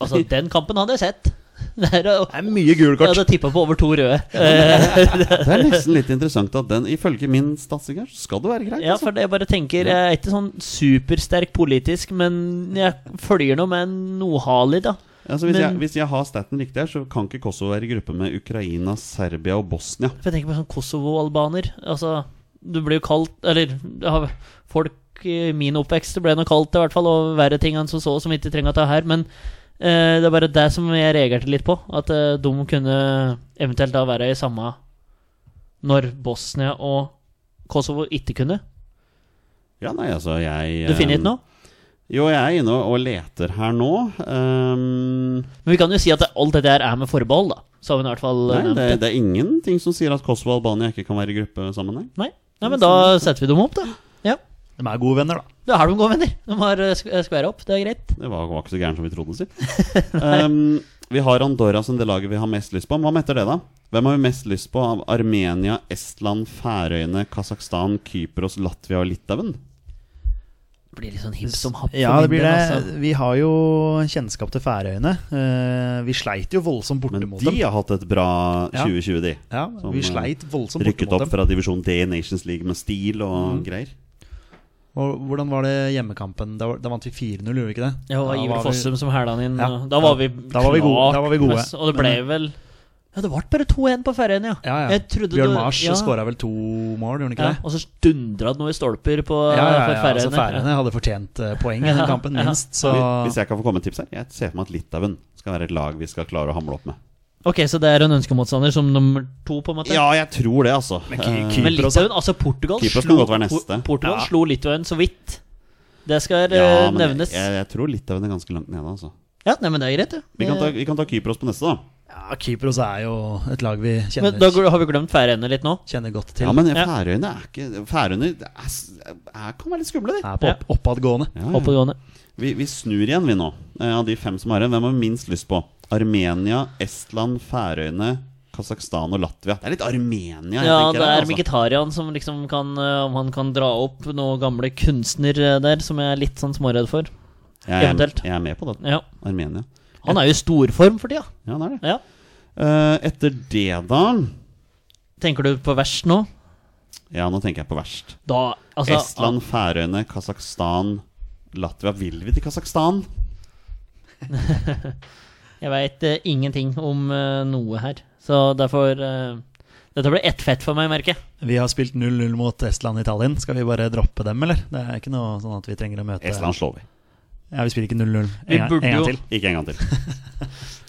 C: Altså, den kampen hadde jeg sett. Det er, å-
B: Det er mye
C: jeg
B: gule kort.
C: hadde tippa på over to røde. Eh,
A: Det er nesten litt interessant at den, ifølge min statsing her, skal det være greit.
C: Ja,
A: altså.
C: for jeg bare tenker Jeg er ikke sånn supersterk politisk, men jeg følger nå med noe hali, da.
A: altså, hvis,
C: men-
A: jeg, hvis jeg har staten riktig her, så kan ikke Kosovo være i gruppe med Ukraina, Serbia og Bosnia.
C: For jeg tenker på sånn Kosovo-albaner. Altså, du blir jo kalt Eller ja, folk i min oppvekst ble nå kalt det, i hvert fall, og verre ting enn som så, som vi ikke trenger å ta her. Men eh, det er bare det som jeg reagerte litt på. At eh, de kunne eventuelt da være i samme når Bosnia og Kosovo ikke kunne.
A: Ja, nei, altså, jeg
C: Du finner ikke
A: ehm,
C: noe?
A: Jo, jeg er inne og leter her nå. Ehm,
C: Men vi kan jo si at det- alt dette her er med forbehold, da. Så har vi nå i hvert fall eh,
A: nei,
C: nevnt
A: det,
C: det.
A: det er ingenting som sier at Kosovo og Albania ikke kan være i gruppe sammen, nei.
C: Nei. Nei, men da setter vi dem opp, da. Ja.
B: De er gode venner, da.
C: Da har de gode venner. De har eh, sk- eh, skværa opp. Det er greit.
A: Det var, var ikke så gæren som vi trodde, si. Ehm, vi har Andorra som det laget vi har mest lyst på. Men hva metter det, da? Hvem har vi mest lyst på av Armenia, Estland, Færøyene, Kasakhstan, Kypros, Latvia og Litauen?
C: Det blir litt sånn hipp som happ. for
B: Ja, det
C: min
B: blir
C: del,
B: det.
C: altså.
B: Vi har jo kjennskap til Færøyene. Eh, Vi sleit jo voldsomt borte
A: Men
B: mot
A: de
B: dem.
A: har hatt et bra
B: Ja.
A: 2020, de.
B: Ja,
A: som,
B: vi
A: eh,
B: sleit voldsomt borte
A: Rykket
B: mot
A: opp
B: dem. Mm.
A: fra divisjon D i Nations League med stil og greier.
B: Og hvordan var det hjemmekampen? Da, var- da vant vi 4-0, gjorde vi ikke det?
C: Ja, det var
B: Da
C: Iver
B: var vi-
C: Fossum som hæla den inn.
B: Ja,
C: og Da var vi
B: da var vi gode,
C: klart
B: da var vi gode.
C: mest- Og det ble
B: Men-
C: vel Ja, det ble bare 2-1 på Færøyene, ja.
B: Ja, ja.
C: Jeg trodde
B: Bjørn
C: det-
B: Mars
C: ja.
B: skåret skåra vel to mål, gjorde han ikke
C: ja.
B: det?
C: Og så dundra det noe i stolper på
B: Ja, ja, ja,
C: for
B: altså
C: Færøyene.
B: Færøyene hadde fortjent eh, poeng i
C: Ja,
B: den kampen,
C: ja.
B: minst. Så
A: Hvis jeg kan få komme med et tips her Jeg ser for meg at Litauen skal være et lag vi skal klare å hamle opp med.
C: Ok, så det er en ønskemotstander som nummer to, på en måte?
A: Ja, jeg tror det, altså.
B: Men Ky-
A: Eh,
B: Ky-
C: Men
B: Kypros, da.
C: Litauen, altså Portugal,
A: Kypros kan
C: slo,
A: godt være neste.
C: Por- Portugal
B: Ja.
C: slo Litauen så vidt. Det skal eh,
A: ja, men jeg,
C: nevnes.
A: jeg, jeg tror Litauen er ganske langt nede, altså.
C: Ja, nei, men det er greit, det.
A: Vi kan ta,
C: Eh,
A: vi kan ta Kypros på neste, da.
B: ja, Kypros er jo et lag vi
C: Men da
B: kjenner,
C: gl- har vi glemt Færøyene litt nå.
B: kjenner godt til.
A: Ja, men
C: Ja.
A: Færøyene er ikke Færøyene det er, s- er, kan være litt skumle, de.
B: er på opp oppadgående.
A: Ja, ja.
C: Oppegående.
A: Vi, vi snur igjen, vi nå. Eh, Av de fem som har igjen, hvem har vi minst lyst på? Armenia, Estland, Færøyene, Kasakhstan og Latvia. Det er litt Armenia. jeg tenker
C: Ja, det
A: her,
C: er
A: altså.
C: Mkhitarian som liksom kan eh, Om han kan dra opp noen gamle kunstner eh, der, som jeg er litt sånn småredd for.
A: jeg, er,
C: eventuelt.
A: jeg er med på det.
C: Ja.
A: Armenia.
C: Han er jo i storform for tida.
A: Ja, det er det.
C: Ja.
A: Eh, etter det, da
C: Tenker du på verst nå?
A: Ja, nå tenker jeg på verst.
C: Da altså,
A: Estland, Færøyene, Kasakhstan, Latvia. Vil vi til Kasakhstan?
C: Jeg veit eh, ingenting om eh, noe her. Så derfor eh, Dette blir ett fett for meg, merker jeg.
B: Vi har spilt 0-0 mot Estland og Italien. Skal vi bare droppe dem, eller? Det er ikke noe sånn at vi trenger å møte
A: Estland slår vi.
B: Ja, vi spiller ikke 0-0 en,
C: Vi
B: gang-
C: burde
B: en gang
C: jo-
B: til.
A: Ikke en gang til.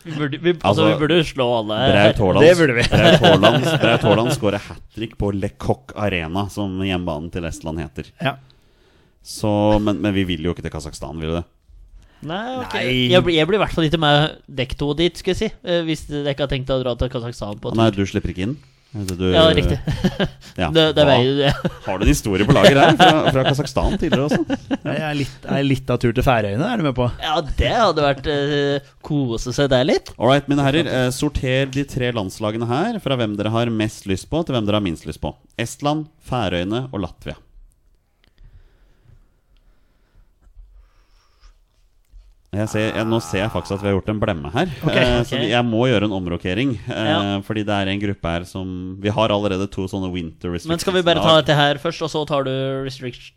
C: Vi burde, vi, altså,
A: Altså,
C: vi burde slå alle
A: Braut
C: her.
A: Haaland
B: Det burde vi.
A: Braut Haaland- Braut Haaland skårer hat trick på Le Coq Arena, som hjemmebanen til Estland heter.
B: Ja.
A: Så, men, men vi vil jo ikke til Kasakhstan, vil vi det?
C: Nei, ok.
B: Nei.
C: Jeg, blir- jeg blir i hvert fall ikke med dekk to dit, skulle jeg si. eh, Hvis dere ikke har tenkt å dra til Kasakhstan på
A: Ah, Nei, du slipper ikke inn? Altså, Du,
C: Ja, riktig.
A: Ja.
C: Det, det
A: Hva?
C: veier jo det.
A: Har du en historie på lager her? Fra, fra Kasakhstan tidligere også?
B: Jeg er litt, jeg er litt av tur til Færøyene, er du med på?
C: Ja, det hadde vært eh, kose seg der litt.
A: All right, mine herrer. Eh, sorter de tre landslagene her fra hvem dere har mest lyst på, til hvem dere har minst lyst på. Estland, Færøyene og Latvia. Jeg ser, jeg, nå ser jeg faktisk at vi har gjort en blemme her. eh, Så
C: ok.
A: vi- jeg må gjøre en omrokering. Eh,
C: Ja.
A: Fordi det er en gruppe her som Vi har allerede to sånne winter restrictions.
C: Men skal vi bare ta dette her først, og så tar du restrict...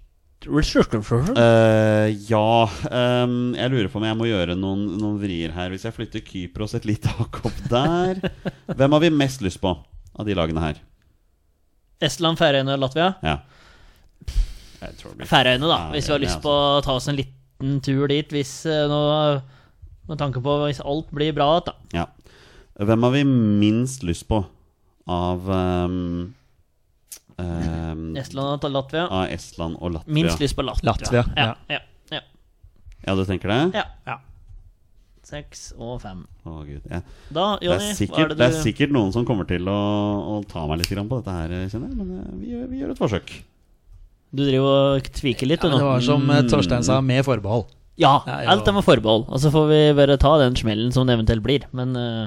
C: Restriction?
A: Eh, ja ehm, Jeg lurer på om jeg må gjøre noen, noen vrier her. Hvis jeg flytter Kypros et lite hakk opp der Hvem har vi mest lyst på av de lagene her?
C: Estland, Færøyene og Latvia?
A: Ja. Jeg tror det blir
C: Færøyene, da. Hvis vi har
A: Færøyene,
C: lyst på å ta oss en liten tur dit, hvis eh, nå Med tanke på hvis alt blir bra da.
A: ja. Hvem har vi minst lyst på av ehm, ehm,
C: Estland og Latvia.
A: Av Estland og Latvia?
C: Minst lyst på Latvia.
B: Latvia,
C: Ja, ja, ja,
A: Ja, du tenker det?
C: ja.
B: Ja.
C: Seks og fem.
A: Å, Gud, ja.
C: Da,
A: det,
C: Jonny,
A: er
C: hva
A: sikkert,
C: er
A: det
C: det
A: er
C: du
A: sikkert noen som kommer til å, å ta meg litt grann på dette her, kjenner jeg. Men eh, vi, gjør- vi gjør et forsøk.
C: Du driver og tviker litt,
B: Ja,
C: du
B: men det
C: nå.
B: var som eh, Torstein sa, med forbehold.
C: Ja,
B: Ja, ja.
C: alt er med forbehold. Og så får vi bare ta den smellen som det eventuelt blir. Men eh,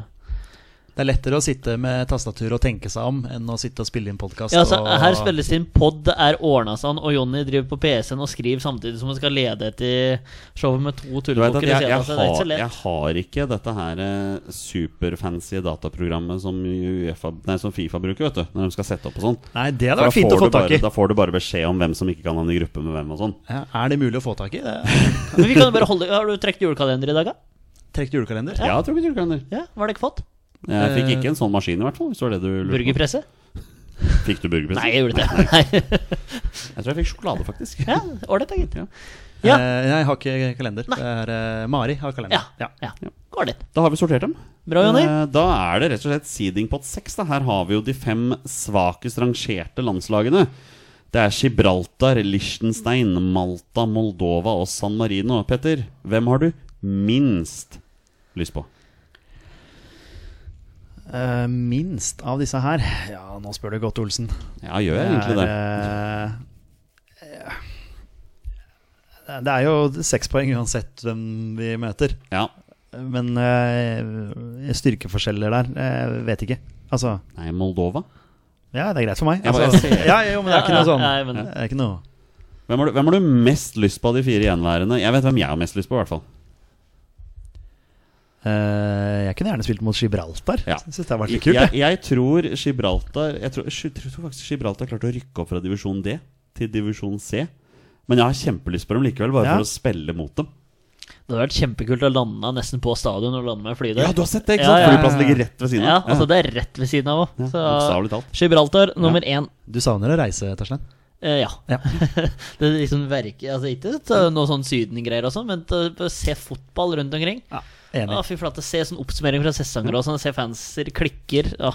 B: Det Det er lettere å sitte med tastatur og tenke seg om enn å sitte og spille inn podkast.
C: Ja, altså, her spilles det inn pod, er ordna sånn, og Jonny driver på PC-en og skriver samtidig som han skal lede etter showet med to
A: Du vet at
C: tullebukker.
A: jeg, jeg,
C: ved siden av seg. altså, Det er ikke så
A: har,
C: lett.
A: jeg har ikke dette her eh, superfancy dataprogrammet som, UEFA, nei, som Fifa bruker, vet du. Når de skal sette opp og sånn.
B: Nei, det hadde
A: For da
B: vært fint
A: får
B: å få
A: du
B: tak i.
A: bare- Da får du bare beskjed om hvem som ikke kan havne i gruppe med hvem og sånn.
B: Ja, er det mulig å få tak i? Det
C: Men vi kan jo bare holde Har du trukket julekalender i dag, da?
B: Trekk julekalender.
A: Ja, jeg tror ikke julekalender.
C: Ja, Hva har dere ikke fått?
A: Jeg fikk ikke en sånn maskin, i hvert fall. Hvis det var det du lurte på.
C: Burgerpresse?
A: Fikk du burgerpress?
C: Nei, jeg gjorde ikke det. Nei.
A: Jeg tror jeg fikk sjokolade, faktisk.
C: Ja, Ålreit, da, gitt.
A: Ja.
C: Ja.
B: Eh, jeg har ikke kalender. Det er eh, Mari
C: Ja.
B: har kalender.
C: ja. Går det.
A: Da har vi sortert dem.
C: Bra, Jonny.
A: Eh, Da er det rett og slett seedingpott 6. Da. Her har vi jo de fem svakest rangerte landslagene. Det er Gibraltar, Liechtenstein, Malta, Moldova og San Marino. Petter, hvem har du minst lyst på?
B: Eh, minst av disse her Ja, nå spør du godt, Olsen.
A: Ja, gjør jeg egentlig det?
B: er, eh, det er jo seks poeng uansett hvem vi møter.
A: Ja.
B: Men eh, styrkeforskjeller der, eh, vet ikke. Altså
A: Nei, Moldova?
B: Ja, det er greit for meg.
A: Ja, men
B: Altså,
A: jeg ser-
B: ja, jo, men det er ikke noe sånn.
C: Nei, men,
B: Det er ikke noe
A: Hvem har, du, hvem har du mest lyst på av de fire gjenværende? Jeg vet hvem jeg har mest lyst på, i hvert fall.
B: Eh, Jeg kunne gjerne spilt mot Gibraltar.
A: Ja.
B: Synes det hadde vært
A: Jeg,
B: litt kult. Jeg.
A: jeg tror Gibraltar Jeg tror, jeg tror faktisk Gibraltar klarte å rykke opp fra divisjon D til divisjon C. Men jeg har kjempelyst på dem likevel, bare
B: Ja.
A: for å spille mot dem.
C: det hadde vært kjempekult å lande nesten på stadion og lande med fly der.
A: Ja, du har sett det, ikke
C: Ja,
A: sant?
C: ja, ja.
A: Flyplassen ligger rett ved siden
C: Ja,
A: av.
C: altså Det er rett ved siden av
A: Ja,
C: òg. Så
A: Bokstavelig talt.
C: Gibraltar nummer én.
B: Du savner å reise, Torstein?
C: Eh, ja.
B: Ja.
C: det er liksom verker altså Ikke til noe sånn Syden-greier og sånn, men til å se fotball rundt omkring.
B: Ja,
C: Å,
B: enig.
C: fy flate. Se sånn oppsummering fra sesonger og sånn. Se fanser klikker. Ja.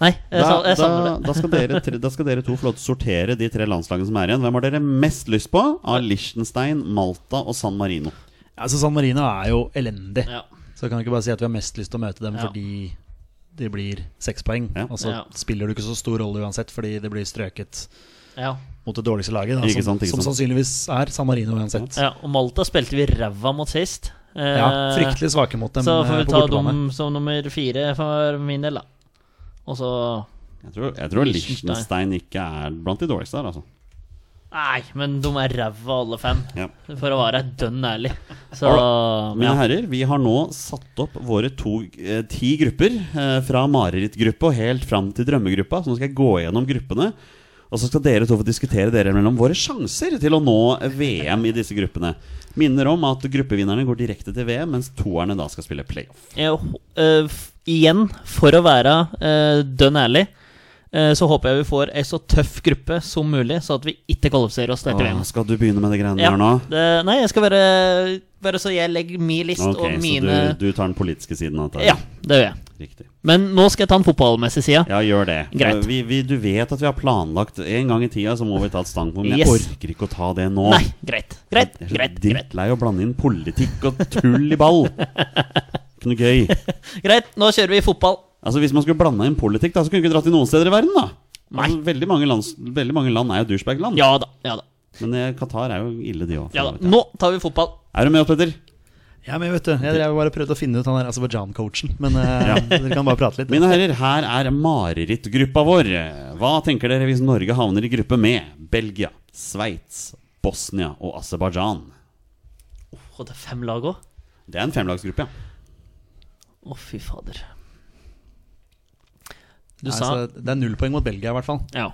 C: Nei, jeg,
A: Da,
C: sa- jeg
A: da,
C: savner det.
A: da, skal dere, tre- da skal dere to få lov til å sortere de tre landslagene som er igjen. Hvem har dere mest lyst på av Liechtenstein, Malta og San Marino?
B: Altså, San Marino er jo elendig.
C: Ja.
B: Så kan du ikke bare si at vi har mest lyst til å møte dem
C: Ja.
B: fordi det blir seks poeng.
A: Ja.
B: Og så
C: Ja.
B: spiller du ikke så stor rolle uansett fordi det blir strøket
C: Ja.
B: mot det dårligste laget. Da, som,
A: Ikke sant, ikke
B: som
A: sant.
B: sannsynligvis er San Marino uansett.
C: ja. Og Malta spilte vi ræva mot sist. Eh,
B: Ja, Fryktelig svake mot dem
C: Så
B: eh,
C: får vi
B: på
C: ta
B: bortebane.
C: dem som nummer fire for min del, da. Og så
A: Jeg tror, jeg tror
C: Liechtenstein.
A: Liechtenstein ikke er blant de dårligste her, altså.
C: Nei, men de er ræva alle fem,
A: Ja.
C: for å være dønn ærlig. Så
A: Mine
C: ja.
A: herrer, vi har nå satt opp våre to, eh, ti grupper. Eh, fra marerittgruppe og helt fram til drømmegruppa. Så nå skal jeg gå gjennom gruppene. Og så skal dere to få diskutere dere mellom våre sjanser til å nå VM i disse gruppene. Minner om at gruppevinnerne går direkte til VM, mens toerne da skal spille playoff.
C: Jeg, hå- eh, f- igjen, for å være eh, dønn ærlig, eh, så håper jeg vi får ei så tøff gruppe som mulig, så at vi ikke kvalifiserer oss til dette
A: Åh,
C: VM.
A: skal du begynne med de greiene
C: Ja,
A: her nå?
C: det, nei, jeg skal være Bare så jeg legger min list
A: Ok,
C: og
A: Så
C: mine
A: du, du tar den politiske siden av dette?
C: Ja, det gjør jeg.
A: Riktig.
C: Men nå skal jeg ta den fotballmessige sida.
A: Ja, gjør det. Eh,
C: Greit.
A: Vi, vi, du vet at vi har planlagt En gang i tida så må vi ta et standpunkt, men jeg
C: Yes.
A: orker ikke å ta det nå.
C: Nei, greit. Greit,
A: Jeg er så
C: greit, greit.
A: drittlei å blande inn politikk og tull i ball. Ikke noe gøy.
C: Greit, Nå kjører vi fotball.
A: Altså Hvis man skulle blanda inn politikk, da så kunne vi ikke dratt til noen steder i verden, da.
C: Nei.
A: Altså, veldig, mange land, veldig mange land er jo douchebag-land.
C: Ja da. ja da,
A: Men eh, Qatar er jo ille, de òg.
C: ja da Nå tar vi fotball.
A: Er du med oss, Petter?
B: Ja, men vet du, Jeg drev bare prøvde å finne ut han der Aserbajdsjan-coachen, men eh, dere kan bare prate litt.
A: Mine herrer, her er marerittgruppa vår. Hva tenker dere hvis Norge havner i gruppe med Belgia, Sveits, Bosnia og Aserbajdsjan?
C: Og det er fem lag òg.
A: Det er en femlagsgruppe, ja.
C: Å, fy fader. Du
B: Nei,
C: sa
B: så det er null poeng mot Belgia, i hvert fall.
C: Ja.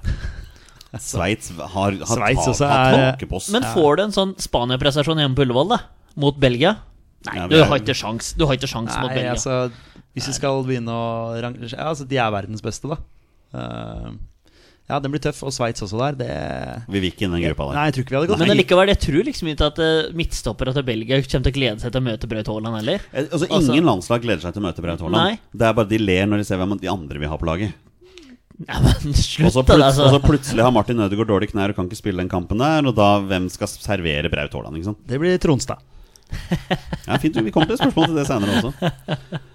A: Sveits har, har,
B: Sveits
A: tak-
B: også
A: har
B: er-
A: taket på oss.
C: eh, Men får du en sånn Spania-prestasjon hjemme på Ullevål, da? Mot Belgia? Nei,
A: Ja,
C: du
A: vi er-
C: har ikke sjans Du har ikke sjans mot
B: Nei,
C: Belgia.
B: altså Hvis vi skal begynne å rangere ja, altså, De er verdens beste, da. Eh, ja, den blir tøff. Og Sveits også der. Det
A: Vi vil ikke inn i den gruppa der.
B: Nei, jeg tror ikke vi hadde gått
C: Men
B: dit.
C: allikevel, jeg tror liksom ikke at eh, midtstoppere til Belgia kommer til å glede seg til å møte Braut Haaland heller.
A: Eh, Altså,
C: Altså-
A: ingen landslag gleder seg til å møte Braut Haaland.
C: Nei.
A: Det er bare de ler når de ser hvem de andre vi har på laget.
C: Nei, men
A: Og så
C: slutt, da.
A: plut
C: Altså.
A: og så plutselig har Martin Ødegaard dårlige knær og kan ikke spille den kampen der, og da hvem skal servere Braut Haaland, ikke sant?
B: Det blir Tronstad.
A: Ja, fint, vi kommer til et spørsmål til det senere også.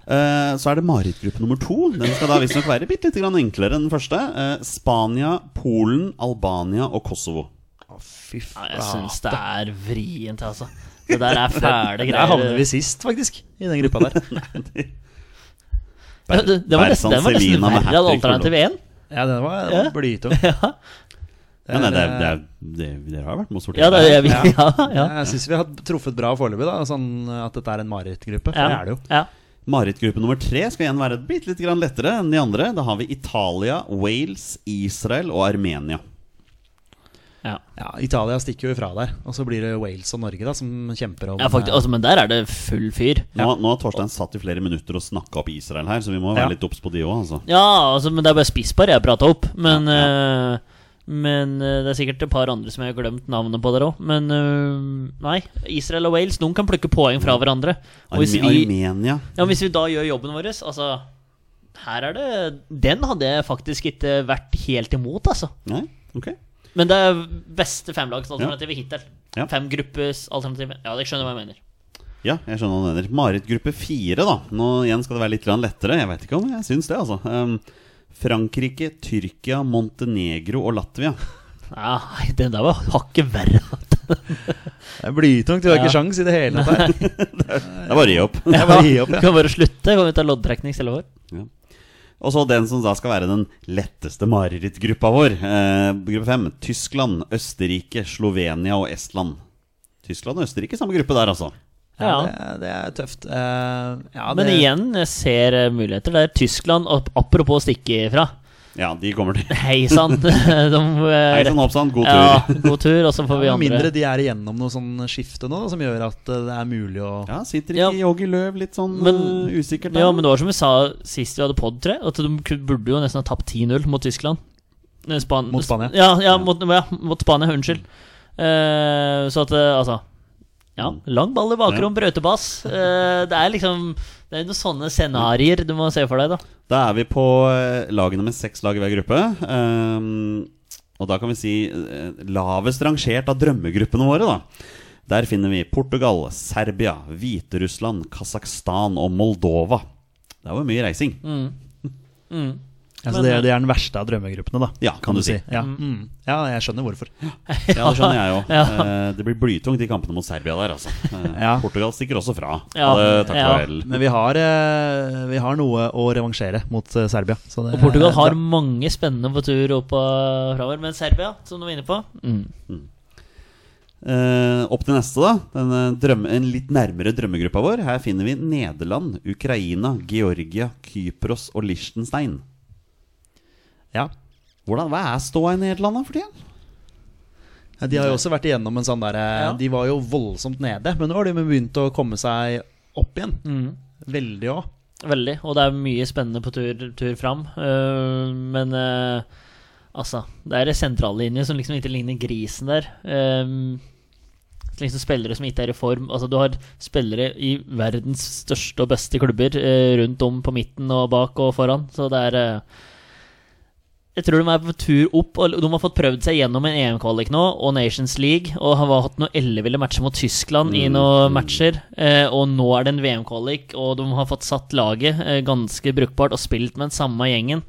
A: Eh, så er det marerittgruppe nummer to. Den skal da visstnok være bitte lite grann enklere enn den første. Eh, Spania, Polen, Albania og Kosovo.
B: Å, fy
C: Nei,
B: faen.
C: jeg syns det er vrient, altså. Det der er fæle
B: Der havner
C: greier.
B: vi sist, faktisk. I den gruppa der.
C: Ja, det, det var nesten, den var nesten verre enn alternativ 1.
B: Ja, den var,
C: Ja.
B: den var blytung.
C: Ja,
A: Men nei, det, er- det, er- det, det har vært mot
C: ja, det,
A: Stortinget.
C: jeg, ja, ja.
B: Jeg syns vi har truffet bra foreløpig, da. Sånn at dette er en marerittgruppe. For
C: Ja.
B: det er det jo.
C: Ja.
A: Mareritgruppe nummer tre skal igjen være bitte litt grann lettere enn de andre. Da har vi Italia, Wales, Israel og Armenia.
C: Ja.
B: Ja, Italia stikker jo ifra der. Og så blir det Wales og Norge da som kjemper om eh,
C: Ja, faktisk, altså, men der er det full fyr.
A: Nå, nå har Torstein satt i flere minutter og snakka opp Israel her, så vi må
B: Ja.
A: være litt obs på de òg, altså.
C: Ja, altså, men det er bare spisspar jeg prata opp. Men, eh, men eh, det er sikkert et par andre som jeg har glemt navnet på der òg. Men eh, nei, Israel og Wales noen kan plukke poeng fra hverandre. Og hvis
A: Arme,
C: vi,
A: Armenia.
C: ja, hvis vi da gjør jobben vår Altså, her er det Den hadde jeg faktisk ikke vært helt imot, altså.
A: Nei, ok.
C: Men det er beste femlagsalternativet hittil.
A: Ja.
C: Femgruppesalternativet. Ja, jeg skjønner hva jeg mener.
A: Ja, jeg skjønner hva du mener. Mareritgruppe fire, da. Nå igjen skal det være litt grann lettere. Jeg vet ikke om jeg syns det, altså. Um, Frankrike, Tyrkia, Montenegro og Latvia.
C: Nei, den der var hakket verre.
B: Det er Blytungt. Vi har
C: Ja.
B: ikke sjans i det hele tatt.
A: Det er bare å gi opp.
B: Jeg bare gir opp,
C: Vi
B: jeg.
C: kan bare slutte. Kan vi ta loddtrekning istedenfor?
A: Og så den som da skal være den letteste marerittgruppa vår. Eh, gruppe fem. Tyskland, Østerrike, Slovenia og Estland. Tyskland og Østerrike, samme gruppe der, altså.
B: Ja,
C: Ja.
B: det, er- det er tøft. Eh, ja,
C: Men
B: det-
C: igjen, jeg ser eh, muligheter. Det er Tyskland, ap- apropos å stikke ifra.
A: Ja, de kommer til.
C: Hei sann! De, eh,
A: Hei sann, hopp sann, god
C: Ja,
A: tur.
C: god tur, og så får vi
B: Med mindre
C: andre.
B: de er igjennom noe sånn skifte nå, da, som gjør at eh, det er mulig å
A: Ja, sitter
C: Ja.
A: ikke Joggi Løv litt sånn
C: Men-
A: eh, usikkert der?
C: Ja, men det var som vi sa sist vi hadde pod, tror jeg, at de ku- burde jo nesten ha tapt 10-0 mot Tyskland. Eh, Span
B: Mot Spania.
C: Ja, ja, mot, ja, mot Spania. Unnskyld. Eh, så at, eh, altså Ja, lang ball i bakrom, brøytebass. Eh, det er liksom Det er noen sånne scenarioer du må se for deg, da.
A: Da er vi på eh, lagene med seks lag i hver gruppe. Ehm, og da kan vi si eh, lavest rangert av drømmegruppene våre, da. Der finner vi Portugal, Serbia, Hviterussland, Kasakhstan og Moldova. Det var mye reising.
C: Mm.
B: altså,
C: eh,
B: det, det er den verste av drømmegruppene, da.
A: Ja, kan du si.
B: Ja. Mm. ja, jeg skjønner hvorfor.
A: Ja, det skjønner jeg jo.
C: Ja.
A: Eh, det blir blytungt i kampene mot Serbia der, altså. Eh,
B: Ja.
A: Portugal stikker også fra.
C: Ja.
A: Eh, takk
C: Ja.
A: for vel.
B: Men vi har, eh, vi har noe å revansjere mot eh, Serbia. Så det,
C: Og Portugal har
B: det-
C: mange spennende på tur opp og framover, men Serbia, som du var inne på
A: Eh, opp til neste, da. Denne drømme, en litt nærmere drømmegruppa vår. Her finner vi Nederland, Ukraina, Georgia, Kypros og Liechtenstein.
B: ja.
A: Hvordan, hva er ståa i Nederland da for tida?
B: Ja, De har jo også vært igjennom en sånn derre
C: Ja.
B: De var jo voldsomt nede, men nå har de begynt å komme seg opp igjen. Veldig òg.
C: Mm. Veldig, og det er mye spennende på tur, tur fram. Eh, men eh, altså Det er en sentrallinje som liksom ikke ligner grisen der. Eh, liksom Spillere som ikke er i form. Altså Du har spillere i verdens største og beste klubber eh, rundt om på midten og bak og foran, så det er eh, jeg tror de er på tur opp, og de har fått prøvd seg gjennom en EM-kvalik nå, og Nations League, og har hatt noen elleville matcher mot Tyskland i noen matcher. Eh, og nå er det en VM-kvalik, og de har fått satt laget eh, ganske brukbart, og spilt med den samme gjengen.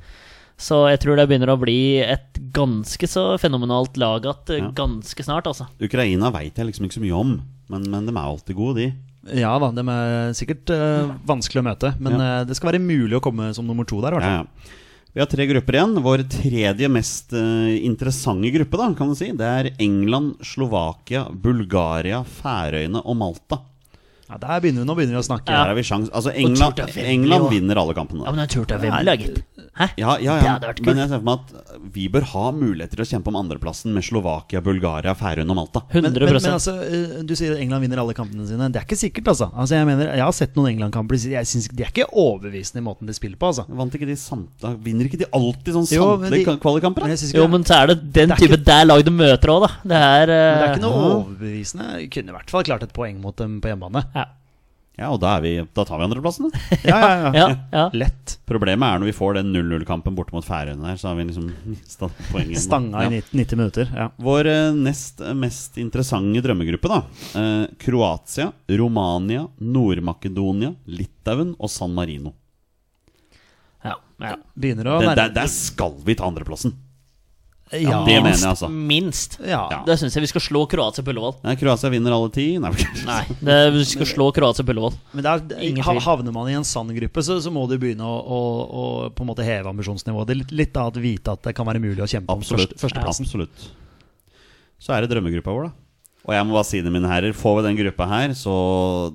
C: Så jeg tror det begynner å bli et ganske så fenomenalt lag at eh,
A: Ja.
C: ganske snart, altså.
A: Ukraina veit jeg liksom ikke så mye om, men, men de er alltid gode, de.
B: Ja da, de er sikkert eh, vanskelig å møte, men eh, det skal være mulig å komme som nummer to der, i hvert fall.
A: Ja, ja. Vi har tre grupper igjen. Vår tredje mest eh, interessante gruppe, da, kan du si, det er England, Slovakia, Bulgaria, Færøyene og Malta.
B: Ja, der begynner vi, nå begynner vi å snakke.
A: Der har vi sjans Altså, England,
C: Turta veldig,
A: England
C: og-
A: vinner alle kampene.
C: Ja, men jeg tror det er VM-lag, gitt. Hæ?
A: Ja, ja,
C: Det
A: ja.
C: hadde vært kult.
A: men jeg ser for meg at vi bør ha muligheter til å kjempe om andreplassen med Slovakia, Bulgaria, Færøyene og Malta.
C: 100
B: Men, men, men altså, eh, du sier at England vinner alle kampene sine. Det er ikke sikkert, altså. altså jeg, mener, jeg har sett noen England-kamper. Jeg synes ikke- De er ikke overbevisende i måten de spiller på, altså.
A: Vant ikke de samta, Vinner ikke de alltid sånn
B: Jo, men
A: samtlige
B: de-
A: ka- kvalikkamper?
B: Men
A: da?
B: jeg synes ikke
C: altså, Jo, men så er det den
B: Det er
C: type der lag du møter òg, da. Det er,
B: Men det er ikke noe
C: eh,
B: overbevisende. Vi kunne i hvert fall klart et poeng mot dem på hjemmebane.
C: ja.
A: Ja, og da, er vi, da tar vi andreplassen. da.
B: Ja, ja,
C: Ja, ja.
B: Lett.
A: Problemet er når vi får den 0-0-kampen borte mot Færøyene der, så har vi liksom mista poenget. da.
B: Stanga i
A: Ja.
B: 90, 90 minutter. Ja.
A: Vår eh, nest mest interessante drømmegruppe, da. Eh, Kroatia, Romania, Nord-Makedonia, Litauen og San Marino.
C: ja, ja.
B: Begynner å
A: Den,
B: nærme
A: der, der skal vi ta andreplassen! Ja, det mener jeg, altså.
C: Minst.
B: Ja.
A: Ja.
C: Det syns jeg vi skal slå Kroatia på Ullevål.
A: Nei, Kroatia vinner alle ti. Nei,
C: Nei, det, vi skal slå Kroatia på Ullevål.
B: Men det er,
C: Ingen
B: hav-
C: tvil.
B: havner man i en sann gruppe, så, så må du begynne å, å, å på en måte heve ambisjonsnivået. Det er litt, litt av å vite at det kan være mulig å kjempe om
A: Absolutt.
B: første, førsteplassen.
A: Absolutt. Så er det drømmegruppa vår, da. Og jeg må bare si det, mine herrer. Får vi den gruppa her, så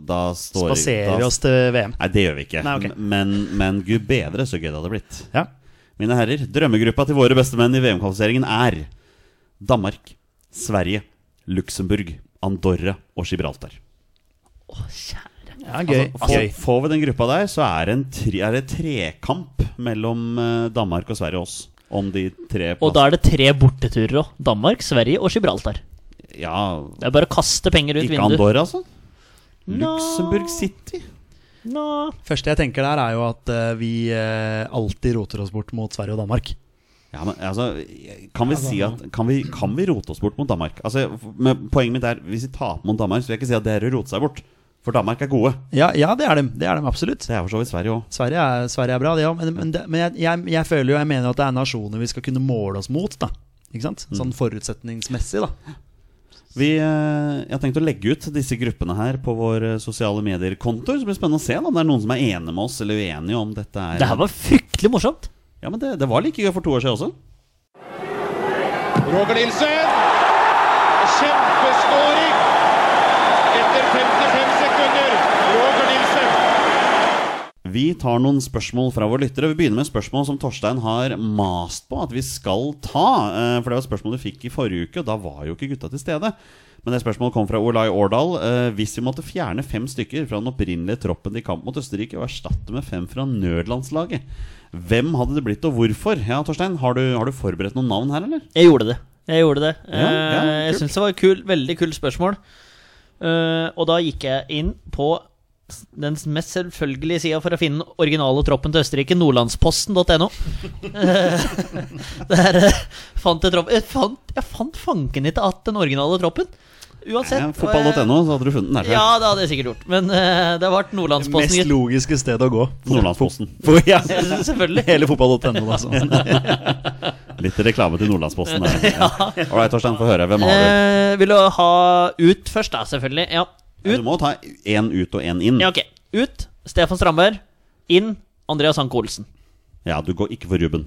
A: da står
B: Spaserer
A: da-
B: oss til VM.
A: Nei, det gjør vi ikke.
B: Nei, ok.
A: Men, men gud bedre så gøy det hadde blitt.
B: Ja.
A: Mine herrer, drømmegruppa til våre bestemenn i VM-kvalifiseringen er Danmark, Sverige, Luxembourg, Andorra og Gibraltar.
C: Å, kjære.
B: Ja, gøy.
A: Altså,
B: gøy.
A: får vi den gruppa der, så er det en tri, er det trekamp mellom eh, Danmark og Sverige og oss. Om de tre
C: Og da er det tre borteturer òg. Danmark, Sverige og Gibraltar.
A: Ja,
C: Det er bare å kaste penger ut
A: ikke
C: vinduet.
A: Andorra, altså.
C: Nå.
A: Luxembourg City.
C: Nå.
B: Første jeg tenker der, er jo at eh, vi eh, alltid roter oss bort mot Sverige og Danmark.
A: Ja, men altså Kan vi si at Kan vi, kan vi rote oss bort mot Danmark? Altså, men Poenget mitt er hvis vi taper mot Danmark, så vil jeg ikke si at det er å rote seg bort. For Danmark er gode.
B: Ja, ja det er dem. Det er dem absolutt.
A: Det er for så vidt Sverige òg.
B: Sverige er, Sverige er bra, det òg, men, men, det, men jeg, jeg, jeg føler jo jeg mener jo at det er nasjoner vi skal kunne måle oss mot. da ikke sant?
A: Mm.
B: Sånn forutsetningsmessig, da.
A: Vi, eh, jeg har tenkt å legge ut disse gruppene her på våre sosiale medier-kontoer. Så blir det spennende å se da, om det er noen som er enig med oss eller uenige om dette er
C: Det her var fryktelig morsomt.
A: Ja, men det, det var like gøy for to år siden også.
D: Roger Nilsen. Kjempeskåring etter 55 sekunder. Roger Nilsen.
A: Vi tar noen spørsmål fra våre lyttere. Vi begynner med spørsmål som Torstein har mast på at vi skal ta. eh, For det var et spørsmål du fikk i forrige uke, og da var jo ikke gutta til stede. Men det spørsmålet kom fra Olai Årdal. Eh, Hvis vi måtte fjerne fem stykker fra den opprinnelige troppen i kamp mot Østerrike og erstatte med fem fra nødlandslaget, hvem hadde det blitt, og hvorfor? Ja, Torstein, har du, har du forberedt noen navn her, eller?
C: Jeg gjorde det. Jeg gjorde det.
A: Ja, ja,
C: Eh, jeg
A: kult.
C: syns det var et kul, veldig kult spørsmål. Eh, og da gikk jeg inn på s- den mest selvfølgelige sida for å finne den originale troppen til Østerrike, nordlandsposten.no. Eh, der eh, fant jeg troppen jeg fant, jeg fant fanken ikke at den originale troppen. Uansett.
A: Eh,
C: og jeg-
A: Fotball.no, så hadde du funnet den der. tror jeg.
C: Ja, det hadde jeg sikkert gjort. Men eh, det ble
B: Det
C: Nordlandsposten.
B: mest
C: gitt.
B: logiske stedet å gå.
A: Nordlandsposten.
B: For, ja.
C: Selvfølgelig.
B: Hele fotball.no, altså.
A: Litt reklame til Nordlandsposten der. Ålreit, Torstein, få høre. Hvem har du?
C: Eh, vil du ha ut først, da, selvfølgelig? Ja. Ut.
A: Du må ta én ut og én inn.
C: Ja, ok. Ut Stefan Strandberg. Inn Andreas Hanke Olsen.
A: Ja, du går ikke for Ruben.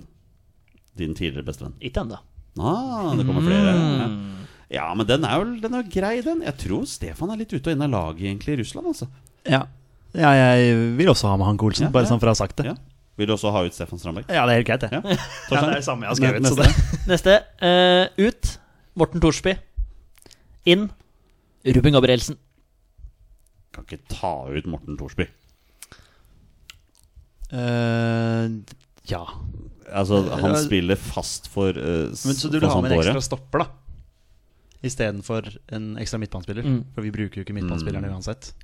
A: Din tidligere bestevenn.
C: Ikke ennå.
A: Ah, det kommer flere.
B: Mm.
A: Ja. ja, men den er jo den er jo grei, den. Jeg tror Stefan er litt ute og inn av laget egentlig i Russland, altså.
B: Ja. ja, jeg vil også ha med Hanke Olsen,
A: Ja,
B: bare
A: ja.
B: sånn for å ha sagt det.
A: Ja. Vil du også ha ut Stefan Strandberg?
B: Ja, det er helt greit, det.
A: Ja.
B: Ja, det er det samme jeg har skrevet. Så det.
C: Neste. eh, ut Morten Thorsby. Inn Ruben Gabrielsen.
A: Kan ikke ta ut Morten Thorsby.
B: Eh, ja.
A: Altså, han
B: Ja.
A: spiller fast for uh,
B: Men, så du vil ha med en ekstra stopper, da? Istedenfor en ekstra midtbanespiller?
C: Mm.
B: For vi bruker jo ikke midtbanespillerne
A: Mm.
B: uansett.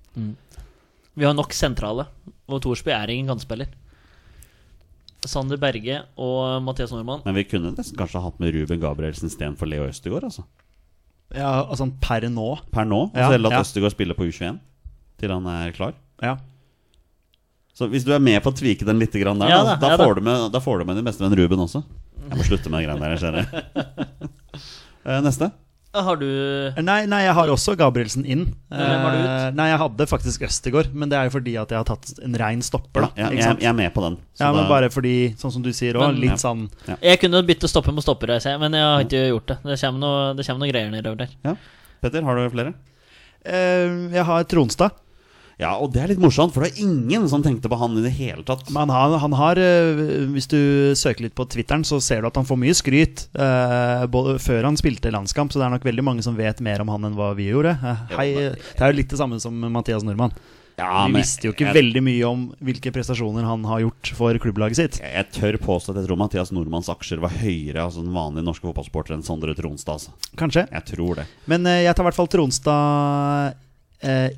C: Vi har nok sentrale, og Thorsby er ingen kantspiller. Sander Berge og Mathias Normann.
A: Men vi kunne nesten kanskje hatt med Ruben Gabrielsen istedenfor Leo Østegård, altså.
B: Ja, altså per nå.
A: Per nå.
B: Ja,
A: altså, eller at
B: ja.
A: Østegård spiller på U21 til han er klar.
B: Ja.
A: Så hvis du er med på å tvike den litt grann der,
C: Ja
A: da, da,
C: da, ja da.
A: får du med, da får du med din bestevenn Ruben også. Jeg må slutte med de greiene der. jeg skjønner Eh, Neste.
C: Har du
B: Nei, nei, jeg har også Gabrielsen inn.
C: Hvem har du ut?
B: Eh, Nei, jeg hadde faktisk Østegård, men det er jo fordi at jeg har tatt en rein stopper, da.
A: Ja,
B: ikke
A: jeg,
B: sant?
A: jeg er med på den. Så
B: ja, men
A: da-
B: bare fordi, sånn som du sier òg,
C: Men-
A: Ja.
B: litt sånn
C: Jeg kunne bytte stopper med stopper, jeg ser, men jeg har ikke gjort det. Det kommer noe, det kommer noe greier nedover der.
A: ja. Petter, har du flere?
B: eh, Jeg har Tronstad.
A: Ja, og det er litt morsomt, for det er ingen som tenkte på han i det hele tatt.
B: Men han, han har eh, Hvis du søker litt på Twitteren, så ser du at han får mye skryt. eh, både før han spilte landskamp, så det er nok veldig mange som vet mer om han enn hva vi gjorde. Eh, hei, eh, det er jo litt det samme som Mathias Nordmann.
A: Ja,
B: vi
A: men
B: visste jo
A: jeg-
B: ikke veldig mye om hvilke prestasjoner han har gjort for klubblaget sitt.
A: Jeg, jeg tør påstå at jeg tror Mathias Nordmanns aksjer var høyere hos altså den vanlige norske fotballsporteren enn Sondre Tronstad. Altså.
B: Kanskje.
A: Jeg tror det.
B: Men eh, jeg tar i hvert fall Tronstad eh,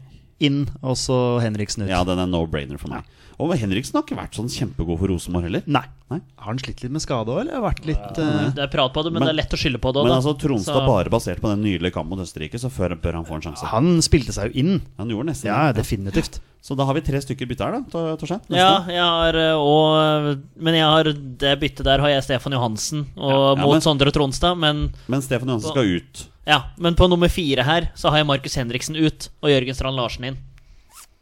B: inn, og så Henriksen ut.
A: Ja, den er no-brainer for meg. Og Henriksen har ikke vært sånn kjempegod for Rosenborg heller.
B: Nei.
A: Nei.
B: Har han slitt litt med skade òg, eller vært litt eh,
C: Det er prat på det, men,
A: Men-
C: det er lett å skylde på det.
A: Men
C: da.
A: altså, Tronstad
C: Så-
A: bare basert på den nydelige kampen mot Østerrike, så før bør han få en sjanse.
B: altså, Han spilte seg jo inn.
A: Han gjorde nesten
B: Ja,
A: det.
B: definitivt.
A: Så da har vi tre stykker bytte her, da, Tor- Torstein. Neste.
C: Ja, jeg har eh, og, Men jeg har det byttet der har jeg Stefan Johansen og
A: Ja, ja,
C: mot
A: men-
C: Sondre Tronstad. Men,
A: Men Stefan Johansen skal ut.
C: ja, men på nummer fire her så har jeg Markus Henriksen ut og Jørgen Strand Larsen inn.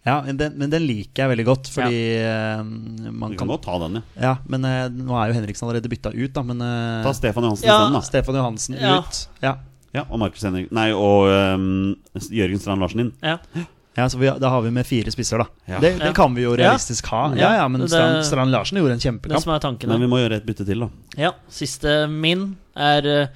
B: Ja, men den, men den liker jeg veldig godt, fordi eh,
A: Du
B: man
A: kan
B: kan
A: godt ta den, ja.
B: Ja, men eh, nå er jo Henriksen allerede bytta ut, da, men eh,
A: Ta Stefan Johansen
C: Ja.
A: isteden, da.
B: Stefan Johansen
C: Ja.
B: ut. Ja.
A: Ja, og Markus Henrik Nei, og øhm, Jørgen Strand Larsen inn.
C: Ja.
B: ja, så vi, Da har vi med fire spisser, da.
A: Ja.
B: Det, det
C: Ja.
B: kan vi jo realistisk ha. Ja, ja, Men
C: Det-
B: Strand, Strand Larsen gjorde en
C: Det
B: kjempekamp.
C: som er tanken.
A: Men
C: her.
A: vi må gjøre et bytte til, da.
C: Ja, siste min er eh,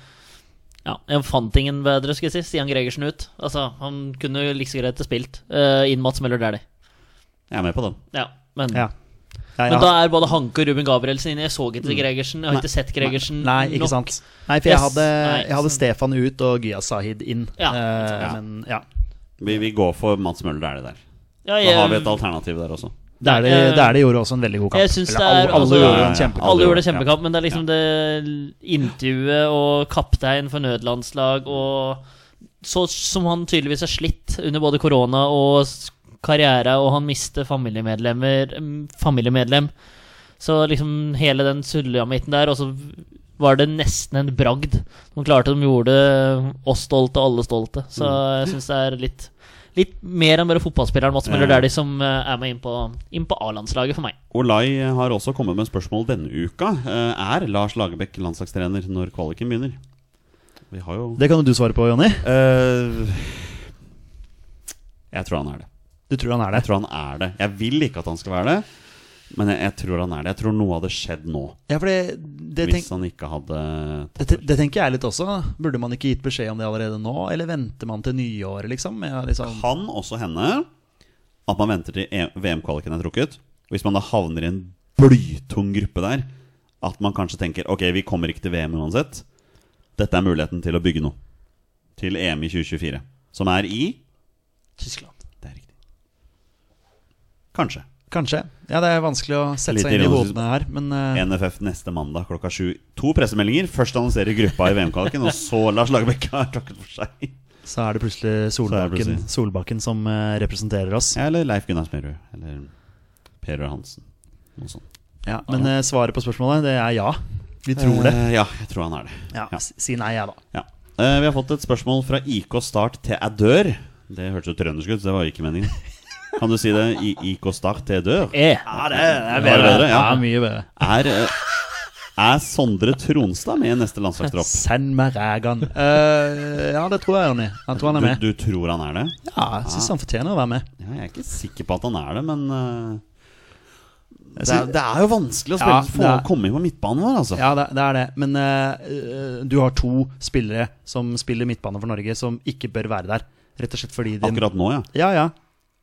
C: Ja, jeg fant ingen bedre, skal jeg si. Stian Gregersen ut. Altså, han kunne jo like så greit ha spilt. Eh, inn Mats Møller Dæhlie.
A: Jeg er med på den.
C: Ja, men
B: Ja. Ja,
C: Men
B: ja.
C: da er både Hanke og Ruben Gabrielsen inne. Jeg så ikke Gregersen. Jeg har
A: Mm. Nei.
C: ikke sett Gregersen
B: Nei, ikke
C: nok.
B: sant. Nei, for jeg
C: Yes.
B: hadde,
C: Nei,
B: jeg hadde
C: så-
B: Stefan ut og Gya Sahid inn.
C: Ja.
B: Eh,
A: Ja.
B: Men ja.
A: Vi, vi går for Mats Møller, det er det der.
C: Ja,
A: Da
C: jeg-
A: har vi et alternativ der også.
B: Det er det,
C: Eh,
B: det er det gjorde også en veldig god kamp.
C: jeg syns
B: Eller
C: det er-
B: alle, alle
C: altså-
B: gjorde
A: Ja, ja,
B: en
A: ja.
B: kjempekamp.
C: Alle gjorde
A: Ja.
C: kjempekamp, men det er liksom det intervjuet og kaptein for nødlandslag og Så som han tydeligvis er slitt under både korona og s- karriere, og han mister familiemedlemmer em, Familiemedlem. Så liksom hele den sulamitten der, og så var det nesten en bragd. De klarte de gjorde oss stolte og alle stolte. Så jeg syns det er litt Litt mer enn bare fotballspilleren Mats Møller
A: Ja.
C: Dæhlie som eh, er med inn på, inn på A-landslaget for meg.
A: Olai har også kommet med spørsmål denne uka. Eh, Er Lars Lagerbäck landslagstrener når kvaliken begynner? Vi har jo
B: Det kan jo du svare på, Jonny.
A: Eh, Jeg tror han er det.
B: Du tror han er
A: Jeg
B: det?
A: tror han er det. Jeg vil ikke at han skal være det, men jeg, jeg tror han er det. Jeg tror noe hadde skjedd nå
B: Ja, for det, det, tenk,
A: hvis han ikke hadde
B: det, te- det tenker jeg litt også. Burde man ikke gitt beskjed om det allerede nå, eller venter man til nyåret, liksom? Ja, liksom
A: Kan også hende at man venter til E- VM-kvaliken er trukket. Hvis man da havner i en blytung gruppe der, at man kanskje tenker ok, vi kommer ikke til VM uansett. Dette er muligheten til å bygge noe. Til EM i 2024. Som er i
C: Tyskland.
A: Det er riktig. Kanskje.
B: Kanskje. Ja, det er vanskelig å sette
A: Litt
B: seg inn i
A: ironisk.
B: hodene her, men eh,
A: NFF neste mandag klokka sju. To pressemeldinger. Først annonserer gruppa i VM-kvaliken, og så Lars Lagerbäck har takket for seg.
B: så er det plutselig
A: er det
B: Solbakken,
A: plutselig.
B: Solbakken som eh, representerer oss. Ja,
A: Eller Leif Gunnar Smerud. Eller Per Røe Hansen. Noe sånt.
B: men eh, svaret på spørsmålet, det er ja. Vi tror det.
A: Eh, Ja, jeg tror han er det.
B: Ja,
A: ja.
B: s- Si nei, jeg, da.
A: Ja. Eh, vi har fått et spørsmål fra IK Start til Adør. Det hørtes jo trøndersk ut, så det var ikke meningen. Kan du si det? I IK Start til Adør?
C: Eh.
A: er bedre.
B: Ja,
A: Ja.
B: mye bedre.
A: Er, eh, er Sondre Tronstad med i neste landslagstropp?
B: Send meg rægan. Eh, ja, det tror jeg, Jonny. Jeg tror han er
A: Du,
B: med.
A: du tror han er det?
B: Ja, jeg syns han fortjener å være med.
A: Ja, jeg er ikke sikker på at han er det, men eh, det,
B: Jeg
A: er,
B: synes-
A: det er jo vanskelig å
B: Ja,
A: spille, få,
B: det er-
A: komme inn på midtbanen vår, altså.
B: Ja, det, det er det. Men eh, eh, du har to spillere som spiller midtbane for Norge, som ikke bør være der. Rett og slett fordi de
A: Akkurat nå, ja.
B: Ja, ja.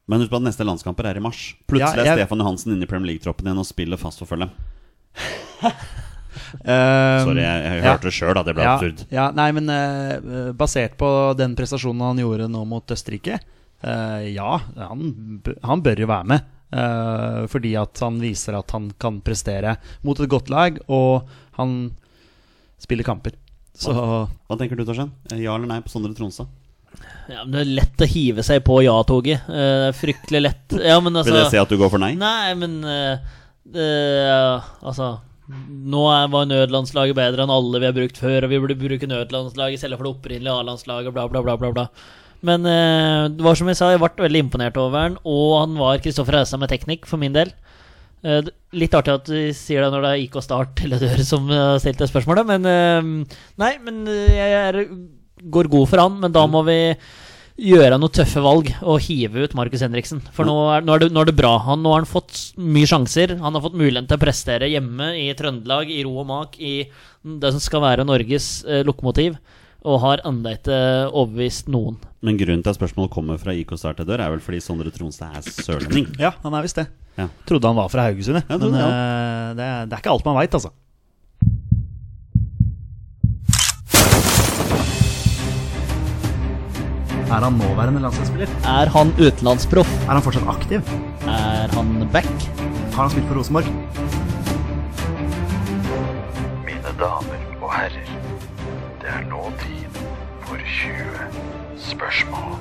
A: Men husk på at neste landskamper er i mars. Plutselig
B: Ja,
A: er
B: jeg-
A: Stefan Johansen inne i Premier League-troppen igjen og spiller fast forfølge.
B: Eh,
A: Sorry, jeg, jeg
B: ja.
A: hørte det sjøl, da. Det ble
B: ja,
A: absurd.
B: Ja, nei, men eh, basert på den prestasjonen han gjorde nå mot Østerrike, eh, ja, han, b- han bør jo være med. eh, fordi at han viser at han kan prestere mot et godt lag, og han spiller kamper. Så
A: Hva tenker du, Torstein? Eh, Ja eller nei på Sondre Tronstad?
C: Ja, men det er lett å hive seg på ja-toget. Eh, Det er fryktelig lett. Ja, men altså
A: Vil det si at du går for nei?
C: Nei, men eh, det- Altså Nå er- var nødlandslaget bedre enn alle vi har brukt før, og vi burde bruke nødlandslaget i stedet for det opprinnelige A-landslaget, bla, bla, bla, bla, bla. Men eh, det var som jeg sa, jeg ble veldig imponert over han, og han var Kristoffer Haugstad med teknikk, for min del. Eh, det- Litt artig at vi sier det når det er IK Start eller Dør som eh, har stilt det spørsmålet, men eh, Nei, men eh, jeg er, går god for han, men da må vi gjøre noen tøffe valg og hive ut Markus Henriksen. For nå er, nå, er det, nå er det bra. Han, nå har han fått s- mye sjanser. Han har fått muligheten til å prestere hjemme i Trøndelag, i ro og mak, i det som skal være Norges eh, lokomotiv. Og har enda ikke eh, overbevist noen.
A: Men grunnen til at spørsmålet kommer fra IK Start til dør, er vel fordi Sondre Tronstad er sørlending.
B: ja, han er visst det.
A: Ja.
B: Trodde han var fra Haugesund, jeg.
A: Ja, trodde
B: men
A: jeg
B: eh, det, er, det er ikke alt man veit, altså. Er han nåværende landslagsspiller?
C: Er han utenlandsproff?
B: Er han fortsatt aktiv?
C: Er han back?
B: har han spilt for Rosenborg?
E: Mine damer og herrer, det er nå tid for 20 spørsmål.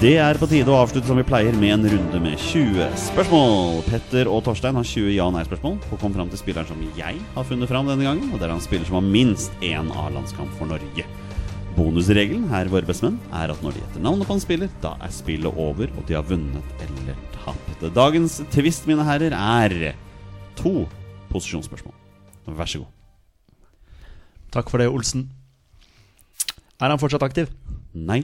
A: Det er på tide å avslutte som vi pleier med en runde med 20 spørsmål. Petter og Torstein har 20 ja- og nei-spørsmål og kom fram til spilleren som jeg har funnet fram denne gangen. Og det er han spiller som har minst én A-landskamp for Norge. Bonusregelen her, våre bestemenn, er at når de gjetter navnet på en spiller, da er spillet over, og de har vunnet eller tapt. Dagens twist, mine herrer, er to posisjonsspørsmål. Vær så god.
B: Takk for det, Olsen. Er han fortsatt aktiv?
A: Nei.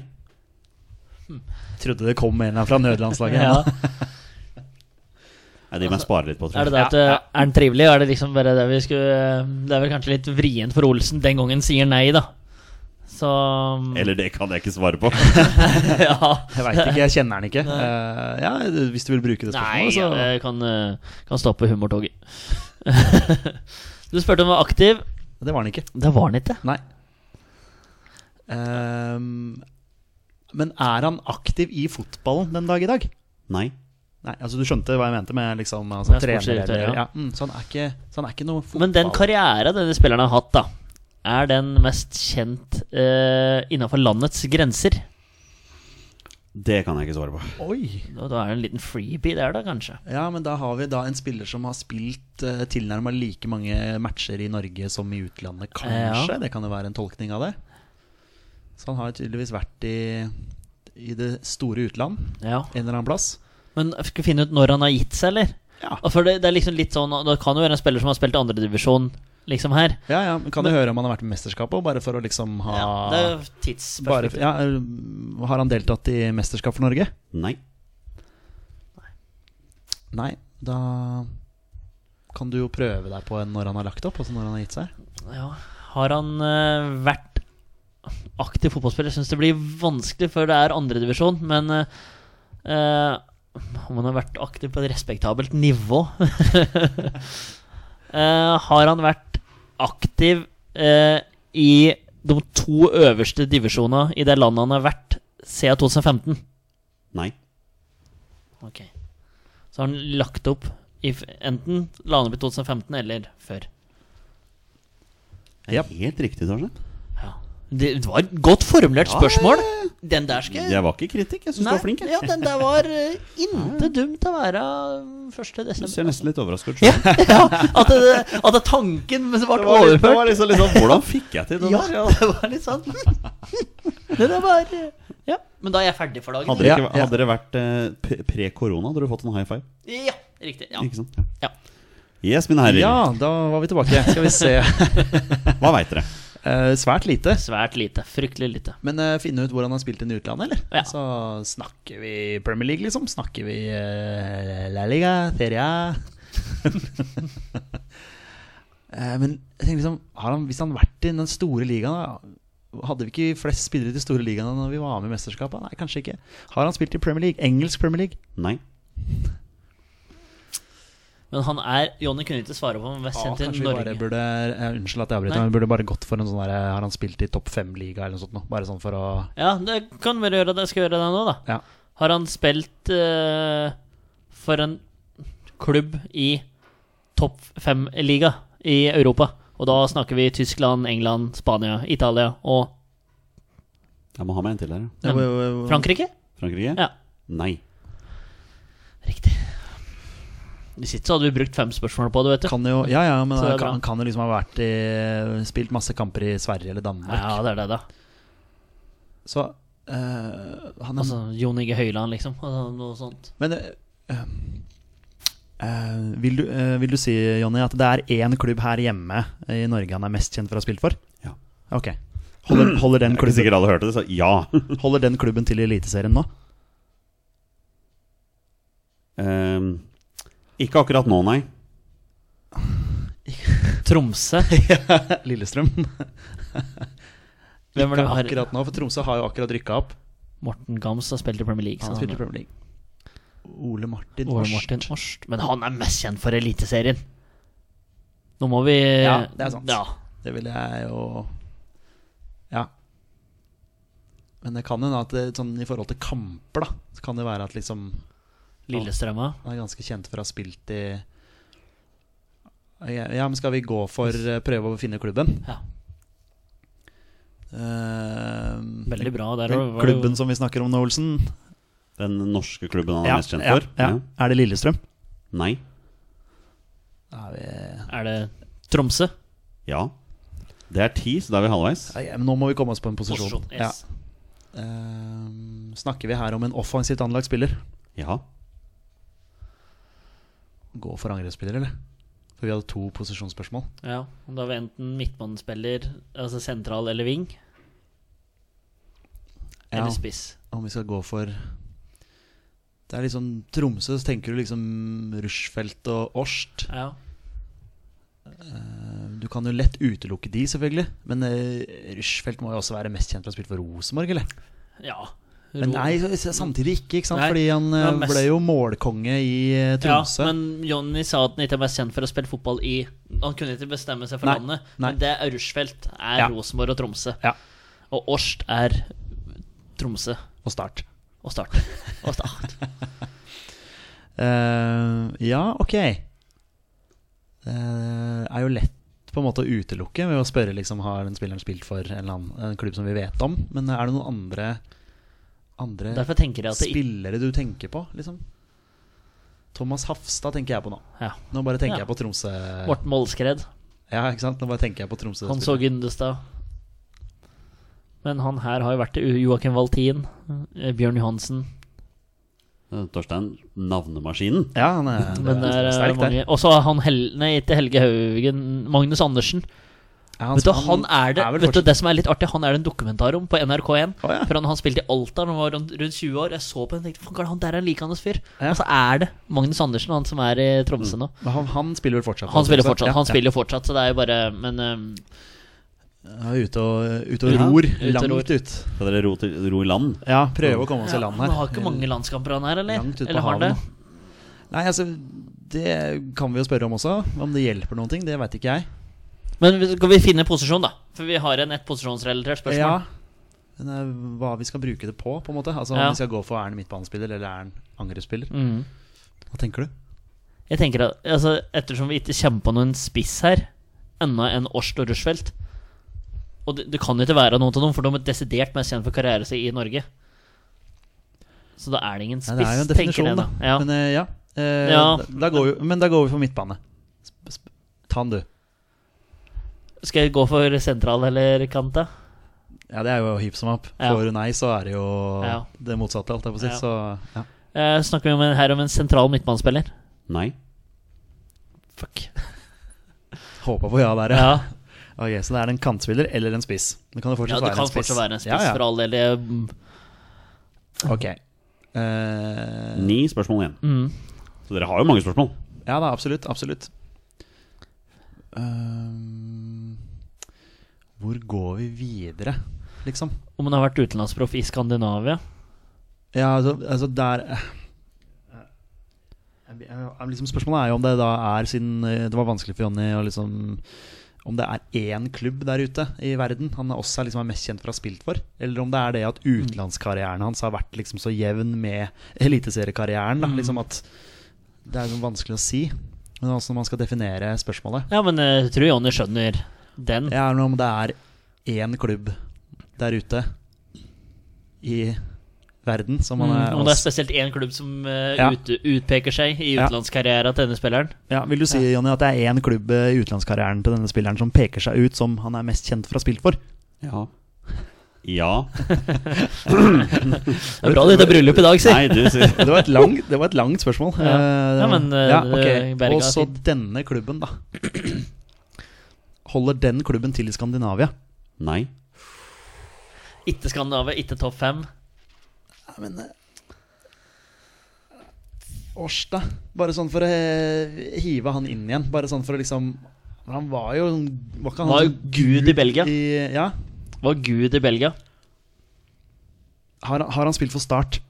B: Trodde det kom en eller annen fra nødlandslaget.
C: Ja.
A: Jeg driver med å spare litt på tror jeg.
C: Er det det at eh, er han trivelig? Er det liksom bare det vi skulle eh, Det er vel kanskje litt vrient for Olsen den gangen sier nei, da. Så
A: Eller det kan jeg ikke svare på.
C: Ja.
B: Jeg veit ikke, jeg kjenner han ikke. Eh, ja, Hvis du vil bruke det
C: Nei,
B: spørsmålet, så
C: jeg kan, eh, kan stoppe humortoget. du spurte om han var aktiv.
B: Det var han ikke.
C: Det var han ikke.
B: Nei. Ehm, men er han aktiv i fotballen den dag i dag?
A: Nei.
B: Nei, altså Du skjønte hva jeg mente med liksom, altså,
C: Ja,
B: trener
C: sportsdirektør,
B: eller-
C: ja.
B: ja. mm, Så han er ikke, så han er ikke noe fotball.
C: Men den karriere denne spilleren har hatt, da, er den mest kjent uh, innafor landets grenser?
A: Det kan jeg ikke svare på.
B: Oi!
C: Og da er det en liten freebie der, da, kanskje.
B: Ja, men da har vi da en spiller som har spilt uh, tilnærma like mange matcher i Norge som i utlandet, kanskje.
C: Ja.
B: Det kan jo være en tolkning av det. Så han har tydeligvis vært i, i det store utland
C: Ja.
B: en eller annen plass.
C: Men jeg skal finne ut når han har gitt seg, eller?
B: Ja.
C: Og For det, det er liksom litt sånn Det kan jo være en spiller som har spilt andredivisjon, liksom her.
B: Ja, ja, men Kan jo høre om han har vært med i mesterskapet, og bare for å liksom ha
C: Det er jo
B: Bare,
C: tidsperspektiv.
B: ja, øh, har han deltatt i mesterskap for Norge?
A: Nei.
B: Nei, da kan du jo prøve deg på en når han har lagt opp, altså når han har gitt seg.
C: Ja. Har han eh, vært aktiv fotballspiller? Syns det blir vanskelig, for det er andredivisjon, men eh, eh, om han har vært aktiv på et respektabelt nivå Eh, Har han vært aktiv eh, i de to øverste divisjonene i det landet han har vært siden 2015?
A: Nei.
C: Ok Så har han lagt opp i f- enten la han opp i 2015 eller før.
A: Det er Helt riktig, Torstein.
C: Ja. Det det var et godt formulert spørsmål. Den der skal jeg
A: Jeg var ikke kritikk. Jeg syns du
C: Nei,
A: var flink. Jeg.
C: Ja, den der var eh, intet dumt å være eh, 1.
A: Du
C: desember.
A: ser nesten litt overrasket ut. sjøl.
C: Ja, at, det, at det tanken ble
A: Det var litt- det
C: overført.
A: var liksom, litt sånn, hvordan fikk jeg til det?
C: Ja,
A: der?
C: det var litt sånn Det der var eh, Ja, men da er jeg ferdig for
A: Hadde
C: dagen.
A: dere,
B: Ja,
A: ikke,
B: ja.
A: hadde dere vært eh, p- pre-korona, hadde dere fått en high five.
C: Ja, riktig. Ja.
A: Ikke sant?
C: Ja.
A: Yes, mine herrer.
B: Ja, da var vi tilbake. Skal vi se.
A: Hva veit dere?
B: Eh, svært lite.
C: Svært lite. Fryktelig lite.
B: Men eh, finne ut hvor han har spilt inn i utlandet, eller?
C: Ja.
B: Så snakker vi Premier League, liksom? Snakker vi eh, La Liga, Feria Eh, Men jeg tenker liksom har han, Hvis han har vært i den store ligaen, da hadde vi ikke flest spillere i de store ligaene når vi var med i mesterskapet? Nei, kanskje ikke. Har han spilt i Premier League? Engelsk Premier League?
A: Nei.
C: Men han er Jonny kunne ikke svare på om han var sendt til
B: kanskje vi
C: Norge.
B: bare burde eh, Unnskyld at jeg avbryter,
C: Nei.
B: men vi burde bare gått for en sånn der Har han spilt i topp fem-liga eller noe sånt? nå? Bare sånn for å
C: Ja, det kan vel gjøre det. Jeg skal gjøre det nå, da.
B: Ja.
C: Har han spilt eh, for en klubb i topp fem-liga i Europa? Og da snakker vi Tyskland, England, Spania, Italia og
A: Jeg må ha med en til her. ja.
C: Men- Frankrike?
A: Frankrike?
C: Ja.
A: Nei.
C: Riktig. Hvis ikke så hadde vi brukt fem spørsmål på det, vet du.
B: Kan jo, ja, ja, men
C: Så det er
B: han kan,
C: bra.
B: han kan jo liksom ha vært i, spilt masse kamper i Sverige eller Danmark.
C: Ja, det er det, da.
B: Så eh, han er,
C: Altså, Jon Inge Høiland, liksom. Altså, noe sånt.
B: Men eh, eh, vil, du, eh, vil du si, Jonny, at det er én klubb her hjemme i Norge han er mest kjent for å ha spilt for?
A: Ja.
B: Ok. Holder, holder,
A: Jeg
B: den,
A: kunne
B: klubben,
A: sikkert alle hørt det, så ja.
B: holder den klubben til i Eliteserien nå?
A: Ehm, ikke akkurat nå, nei.
C: Tromsø.
B: Lillestrøm?
C: Hvem er det
B: Ikke
C: vi har?
B: akkurat nå, for Tromsø har jo akkurat rykka opp.
C: Morten Gams har spilt i Premier League. så
B: Han spiller i
C: han-
B: Premier League. Ole Martin
C: Ole
B: Årst.
C: Martin Årst. Men han er mest kjent for Eliteserien. Nå må vi
B: Ja, det er sant.
C: Ja.
B: Det vil jeg jo Ja. Men det kan hende at det, sånn, i forhold til kamper, da, så kan det være at liksom
C: Lillestrømma.
B: Han er ganske kjent for å ha spilt i Ja, ja, men skal vi gå for eh, prøve å finne klubben?
C: Ja,
B: Eh,
C: veldig bra. Der
B: den
C: var det jo-
B: klubben som vi snakker om nå, Olsen
A: Den norske klubben han er
B: Ja,
A: mest kjent
B: ja,
A: for?
B: ja. Er det Lillestrøm?
A: Nei.
B: Er vi...
C: Er det Tromsø?
A: Ja. Det er ti, så da er vi halvveis.
B: Nei, men nå må vi komme oss på en posisjon.
C: Posisjon, yes.
B: ja. Eh, snakker vi her om en offensivt anlagt spiller?
A: Ja.
B: Gå for angrepsspiller, eller? For vi hadde to posisjonsspørsmål.
C: Ja, og Da har vi enten midtbanespiller, altså sentral eller wing,
B: Ja.
C: eller spiss.
B: Om vi skal gå for Det er liksom Tromsø, så tenker du liksom Rushfeldt og Årst.
C: Ja.
B: Eh, Du kan jo lett utelukke de, selvfølgelig. Men eh, Rushfeldt må jo også være mest kjent for å ha spilt for Rosenborg, eller?
C: ja.
B: Men nei, så- så samtidig ikke, ikke sant?
C: Nei,
B: Fordi han
C: det var
B: eh,
C: mest-
B: ble jo målkonge i eh, Tromsø.
C: Ja, men Jonny sa at han ikke var kjent for å spille fotball i Han kunne ikke bestemme seg for
B: Nei,
C: landet.
B: nei.
C: Men det er Rushfeldt, er
B: Ja.
C: Rosenborg og Tromsø.
B: Ja.
C: Og Årst er Tromsø
B: Og Start.
C: og Start. Og start.
B: Eh, ja, ok. Det er jo lett på en måte å utelukke ved å spørre liksom, har den spilleren spilt for en, eller annen, en klubb som vi vet om. Men er det noen andre, andre
C: Derfor tenker jeg at det ikke
B: spillere du tenker på, liksom? Thomas Hafstad tenker jeg på nå.
C: ja.
B: Nå bare tenker
C: Ja.
B: jeg på Tromsø.
C: Morten Målskred,
B: Ja, ikke sant? Nå bare tenker jeg på Tromsø.
C: han så Gyndestad. Men han her har jo vært til Joakim Valtin, eh, Bjørn Johansen
A: Eh, Torstein, navnemaskinen.
B: Ja, han er,
C: Men det er eh,
B: sterk der.
C: mange Og så har han Hel Nei, ikke Helge Haugen. Magnus Andersen.
B: Ja, han-
C: Vet du, han er det
B: er vel
C: Vet du,
B: fortsatt-
C: det som er litt artig, han er det en dokumentar om på NRK1.
B: Å, ja.
C: For han, han spilte i Alta da han var rundt rundt 20 år. Jeg så på den og tenkte "Faen, han der er en likandes fyr.
B: Ja.
C: Og så er det Magnus Andersen, han som er i Tromsø nå.
B: Men han, han spiller vel fortsatt?
C: Han spiller fortsatt,
B: Ja,
C: han
B: ja.
C: spiller fortsatt så det er jo bare Men ehm,
B: Ja, ute og, ute og
C: Ja,
B: ror.
C: ute og
B: langt
C: ror.
B: ut.
A: Skal dere ro, til, ro i land?
B: Ja, prøve å komme oss
C: ja,
B: i land her.
C: han har ikke mange landskamper, han her, eller?
B: Langt ut på
C: Eller har han det?
B: havet Nei, altså, det kan vi jo spørre om også. Om det hjelper noen ting, det veit ikke jeg.
C: Men vi- skal vi finne posisjon, da? For vi har en ett posisjonsrelatert
B: Ja,
C: spørsmål.
B: men eh, hva vi skal bruke det på, på en måte. Altså om
C: Ja.
B: vi skal gå for er han midtbanespiller eller er han angrepsspiller.
C: Mm.
B: Hva tenker du?
C: Jeg tenker at altså, Ettersom vi ikke kommer på noen spiss her, enda enn Årst og Rushfeldt Og det, det kan jo ikke være noen av dem, for de er desidert mest kjent for karrieren sin i Norge. Så da er det ingen
B: Nei,
C: spiss,
B: det er jo en
C: tenker
B: definisjon,
C: jeg
B: da.
C: da. Ja.
B: Men, eh, ja. Eh,
C: Ja.
B: Da, da går vi, men da går vi for midtbane. Sp- sp- Ta den, du.
C: Skal jeg gå for sentral eller kant, da?
B: Ja, det er jo hipp som happ.
C: Ja.
B: Får du nei, så er det jo
C: Ja.
B: det motsatte, holdt jeg på å si.
C: Ja.
B: Så ja.
C: Eh, snakker vi om en, her om en sentral midtbanespiller?
A: Nei.
C: Fuck.
B: håpa på ja der, ja.
C: Ja,
B: Ok, Så det er en kantspiller eller en spiss. Det kan jo
C: ja
B: fortsatt
C: du
B: være,
C: kan
B: en spiss.
C: fortsatt være en spiss,
B: Ja, ja.
C: for all del. det- mm,
B: Ok. Eh,
A: Ni spørsmål igjen.
C: Mm.
A: Så dere har jo mange spørsmål.
B: Ja da, absolutt. Absolutt. Ehm, hvor går vi videre, liksom?
C: Om han har vært utenlandsproff i Skandinavia?
B: Ja, altså, altså der eh, eh, liksom Spørsmålet er jo om det da er, siden eh, det var vanskelig for Jonny å liksom Om det er én klubb der ute i verden han også er liksom er mest kjent for å ha spilt for, eller om det er det at utenlandskarrieren hans har vært liksom så jevn med eliteseriekarrieren, da, liksom at Det er liksom vanskelig å si. Men også når man skal definere spørsmålet.
C: Ja, men eh, jeg tror Jonny skjønner den.
B: Ja, men om det er én klubb der ute i verden som man er
C: Mm, om det er
B: også-
C: spesielt én klubb som eh,
B: Ja.
C: ut, utpeker seg i
B: Ja.
C: utenlandskarrieren til denne spilleren.
B: ja, Vil du si Jonny, at det er én klubb eh, i utenlandskarrieren til denne spilleren som peker seg ut som han er mest kjent for å ha spilt for?
A: Ja. Ja.
C: Det er bra det er bryllup i dag, si!
A: Nei, du sier
B: Det var et langt, det var et langt spørsmål.
C: Ja. Ja, men, eh,
B: ja,
C: det-
B: ok.
C: Berga er
B: Og så
C: fint.
B: denne klubben, da. Holder den klubben til i Skandinavia?
A: Nei.
C: Ikke Skandinavia, ikke topp fem.
B: Ja, men Årstad. Bare sånn for å eh, hive han inn igjen. Bare sånn for å liksom for Han var jo Var ikke han
C: Var jo
B: sånn
C: gud i Belgia.
B: I, ja.
C: Var gud i Belgia.
B: Har, han- har han spilt for Start?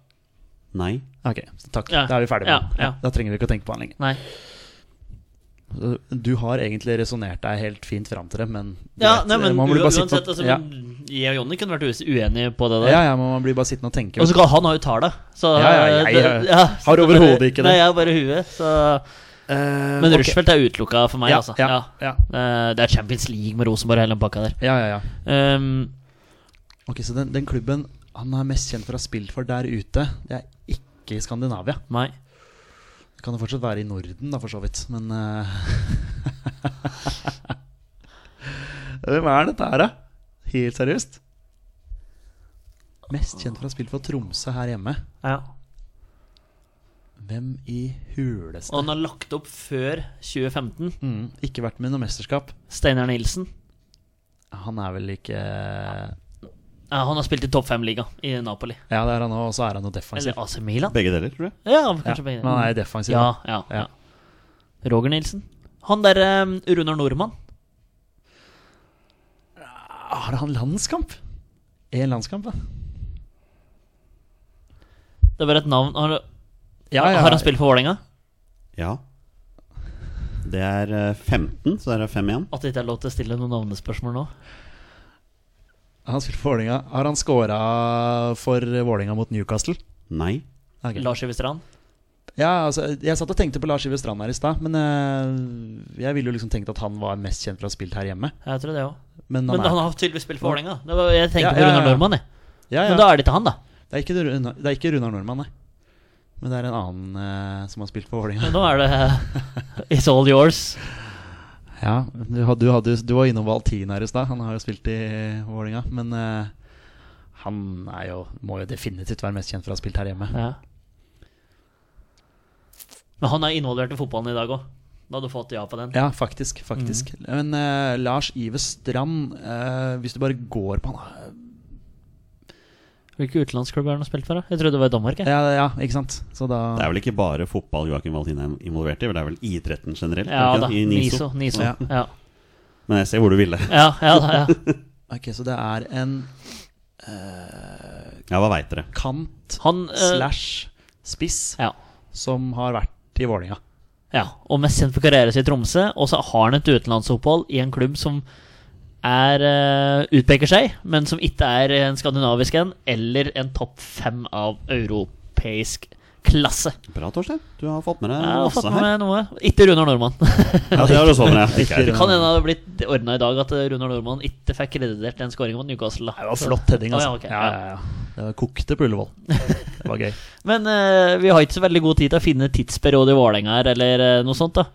A: Nei.
B: Ok, takk.
C: Ja.
B: Da er vi ferdige
C: Ja,
B: med det.
C: ja.
B: Da trenger vi ikke å tenke på han lenger.
C: Nei.
B: Så Du har egentlig resonnert deg helt fint fram til det, men
C: Ja,
B: du vet,
C: nei, men
B: man
C: u
B: burde bare sitte
C: uansett,
B: på-
C: altså,
B: ja.
C: men Jeg og Jonny kunne vært u- uenige på det der.
B: Ja, ja, men man blir bare sittende og tenke.
C: Og så kan han ha jo tala, så
B: Ja, ja, jeg,
C: det-
B: eh,
C: ja, så
B: har
C: det er
B: overhodet
C: bare-
B: ikke det.
C: Nei, jeg har bare huet, så
B: Eh,
C: Men
B: ok.
C: Rushfeldt er utelukka for meg,
B: ja,
C: altså.
B: ja,
C: Ja.
B: ja,
C: Eh, Det er Champions League med Rosenborg og hele den pakka der.
B: ja, ja, ja.
C: Ehm,
B: Ok, så den, den klubben han er mest kjent for å ha spilt for der ute, det er ikke i Skandinavia.
C: nei.
B: Det kan jo fortsatt være i Norden, da, for så vidt, men eh, Hvem er dette her, da? Helt seriøst? Mest kjent for å ha spilt for Tromsø her hjemme.
C: Ja.
B: Hvem i huleste
C: Og han har lagt opp før 2015.
B: mm, Ikke vært med i noe mesterskap.
C: Steinar Nilsen.
B: Han er vel ikke Ja,
C: Ja, han har spilt i topp fem-liga i Napoli.
B: det er han òg, og så er han jo defensiv.
C: Eller AC Milan.
A: Begge deler, tror jeg.
C: Ja,
B: Ja,
C: kanskje begge.
B: men han er jo defensiv.
C: ja, ja, ja. Roger Nilsen. Han derre um, Runar Nordmann.
B: Har han landskamp? Én landskamp, da?
C: Det er bare et navn Har,
B: Ja, ja,
C: har han spilt for Vålerenga?
A: Ja. Det er eh, 15, så der er 5 igjen.
C: At det ikke er lov til å stille noen navnespørsmål nå?
B: Han har spilt for Vålinga. Har han scora for Vålinga mot Newcastle?
A: Nei.
B: Ok.
C: Lars Iver Strand?
B: Ja, altså, jeg satt og tenkte på Lars Iver Strand her i stad, men eh, jeg ville jo liksom tenkt at han var mest kjent for å ha spilt her hjemme.
C: Jeg tror det òg.
B: Men han
C: Men han
B: er,
C: har tydeligvis spilt for Vålerenga. Det var- Jeg
B: Ja,
C: tenkte på
B: ja,
C: Runar
B: ja.
C: Nordmann, jeg.
B: ja, ja.
C: Men da er det ikke han, da.
B: Det, er ikke Runa, det er ikke Runar Nordmann, nei. Men det er en annen eh, som har spilt for Vålinga.
C: Men nå er det eh, It's all yours.
B: Ja, du, hadde, du, hadde, du var innom Valtin her i stad. Han har jo spilt i Vålinga. Men eh, han er jo, må jo definitivt være mest kjent for å ha spilt her hjemme.
C: Ja. Men han er involvert i fotballen i dag òg. Da hadde du fått ja på den.
B: Ja, faktisk. faktisk Men eh, Lars Ive Strand, eh, hvis du bare går på han
C: Hvilken utenlandsklubb har han spilt for? da? Jeg trodde det var i Danmark. jeg.
B: Ja, ja, ikke sant? Så da
A: Det er vel ikke bare fotball Joakim Valtin er involvert i, vel det er vel idretten generelt? er det
C: Ja
A: ikke
C: da.
A: det? I Niso.
C: Niso. Niso.
B: Ja.
C: Ja. Ja.
A: Men jeg ser hvor du ville.
C: Ja, da, ja.
B: Ok, så det er en
A: Ja, hva veit dere?
B: kant
C: Han eh,
B: slash spiss
C: ja.
B: som har vært i Vålinga
C: ja. Og mest kjent for karrieren sin i Tromsø. Og så har han et utenlandsopphold i en klubb som er eh, utpeker seg, men som ikke er en skandinavisk en, eller en topp fem av europeisk klasse.
A: Bra, Torstein. Du har fått med deg
C: Jeg har
A: masse
C: fått med
A: her.
C: meg noe. Ikke Runar Nordmann.
A: Ja, det har du også fått med deg. Ikke jeg.
C: Det kan hende det hadde blitt ordna i dag at eh, Runar Nordmann ikke fikk kreditert den skåringa mot Newcastle. Da.
B: Det var flott heading,
C: Å, ja,
B: altså.
C: ok.
B: ja, ja, ja. Det var kokte på Ullevål. Det var gøy.
C: Men eh, vi har ikke så veldig god tid til å finne tidsperiode i Vålerenga her, eller eh, noe sånt. da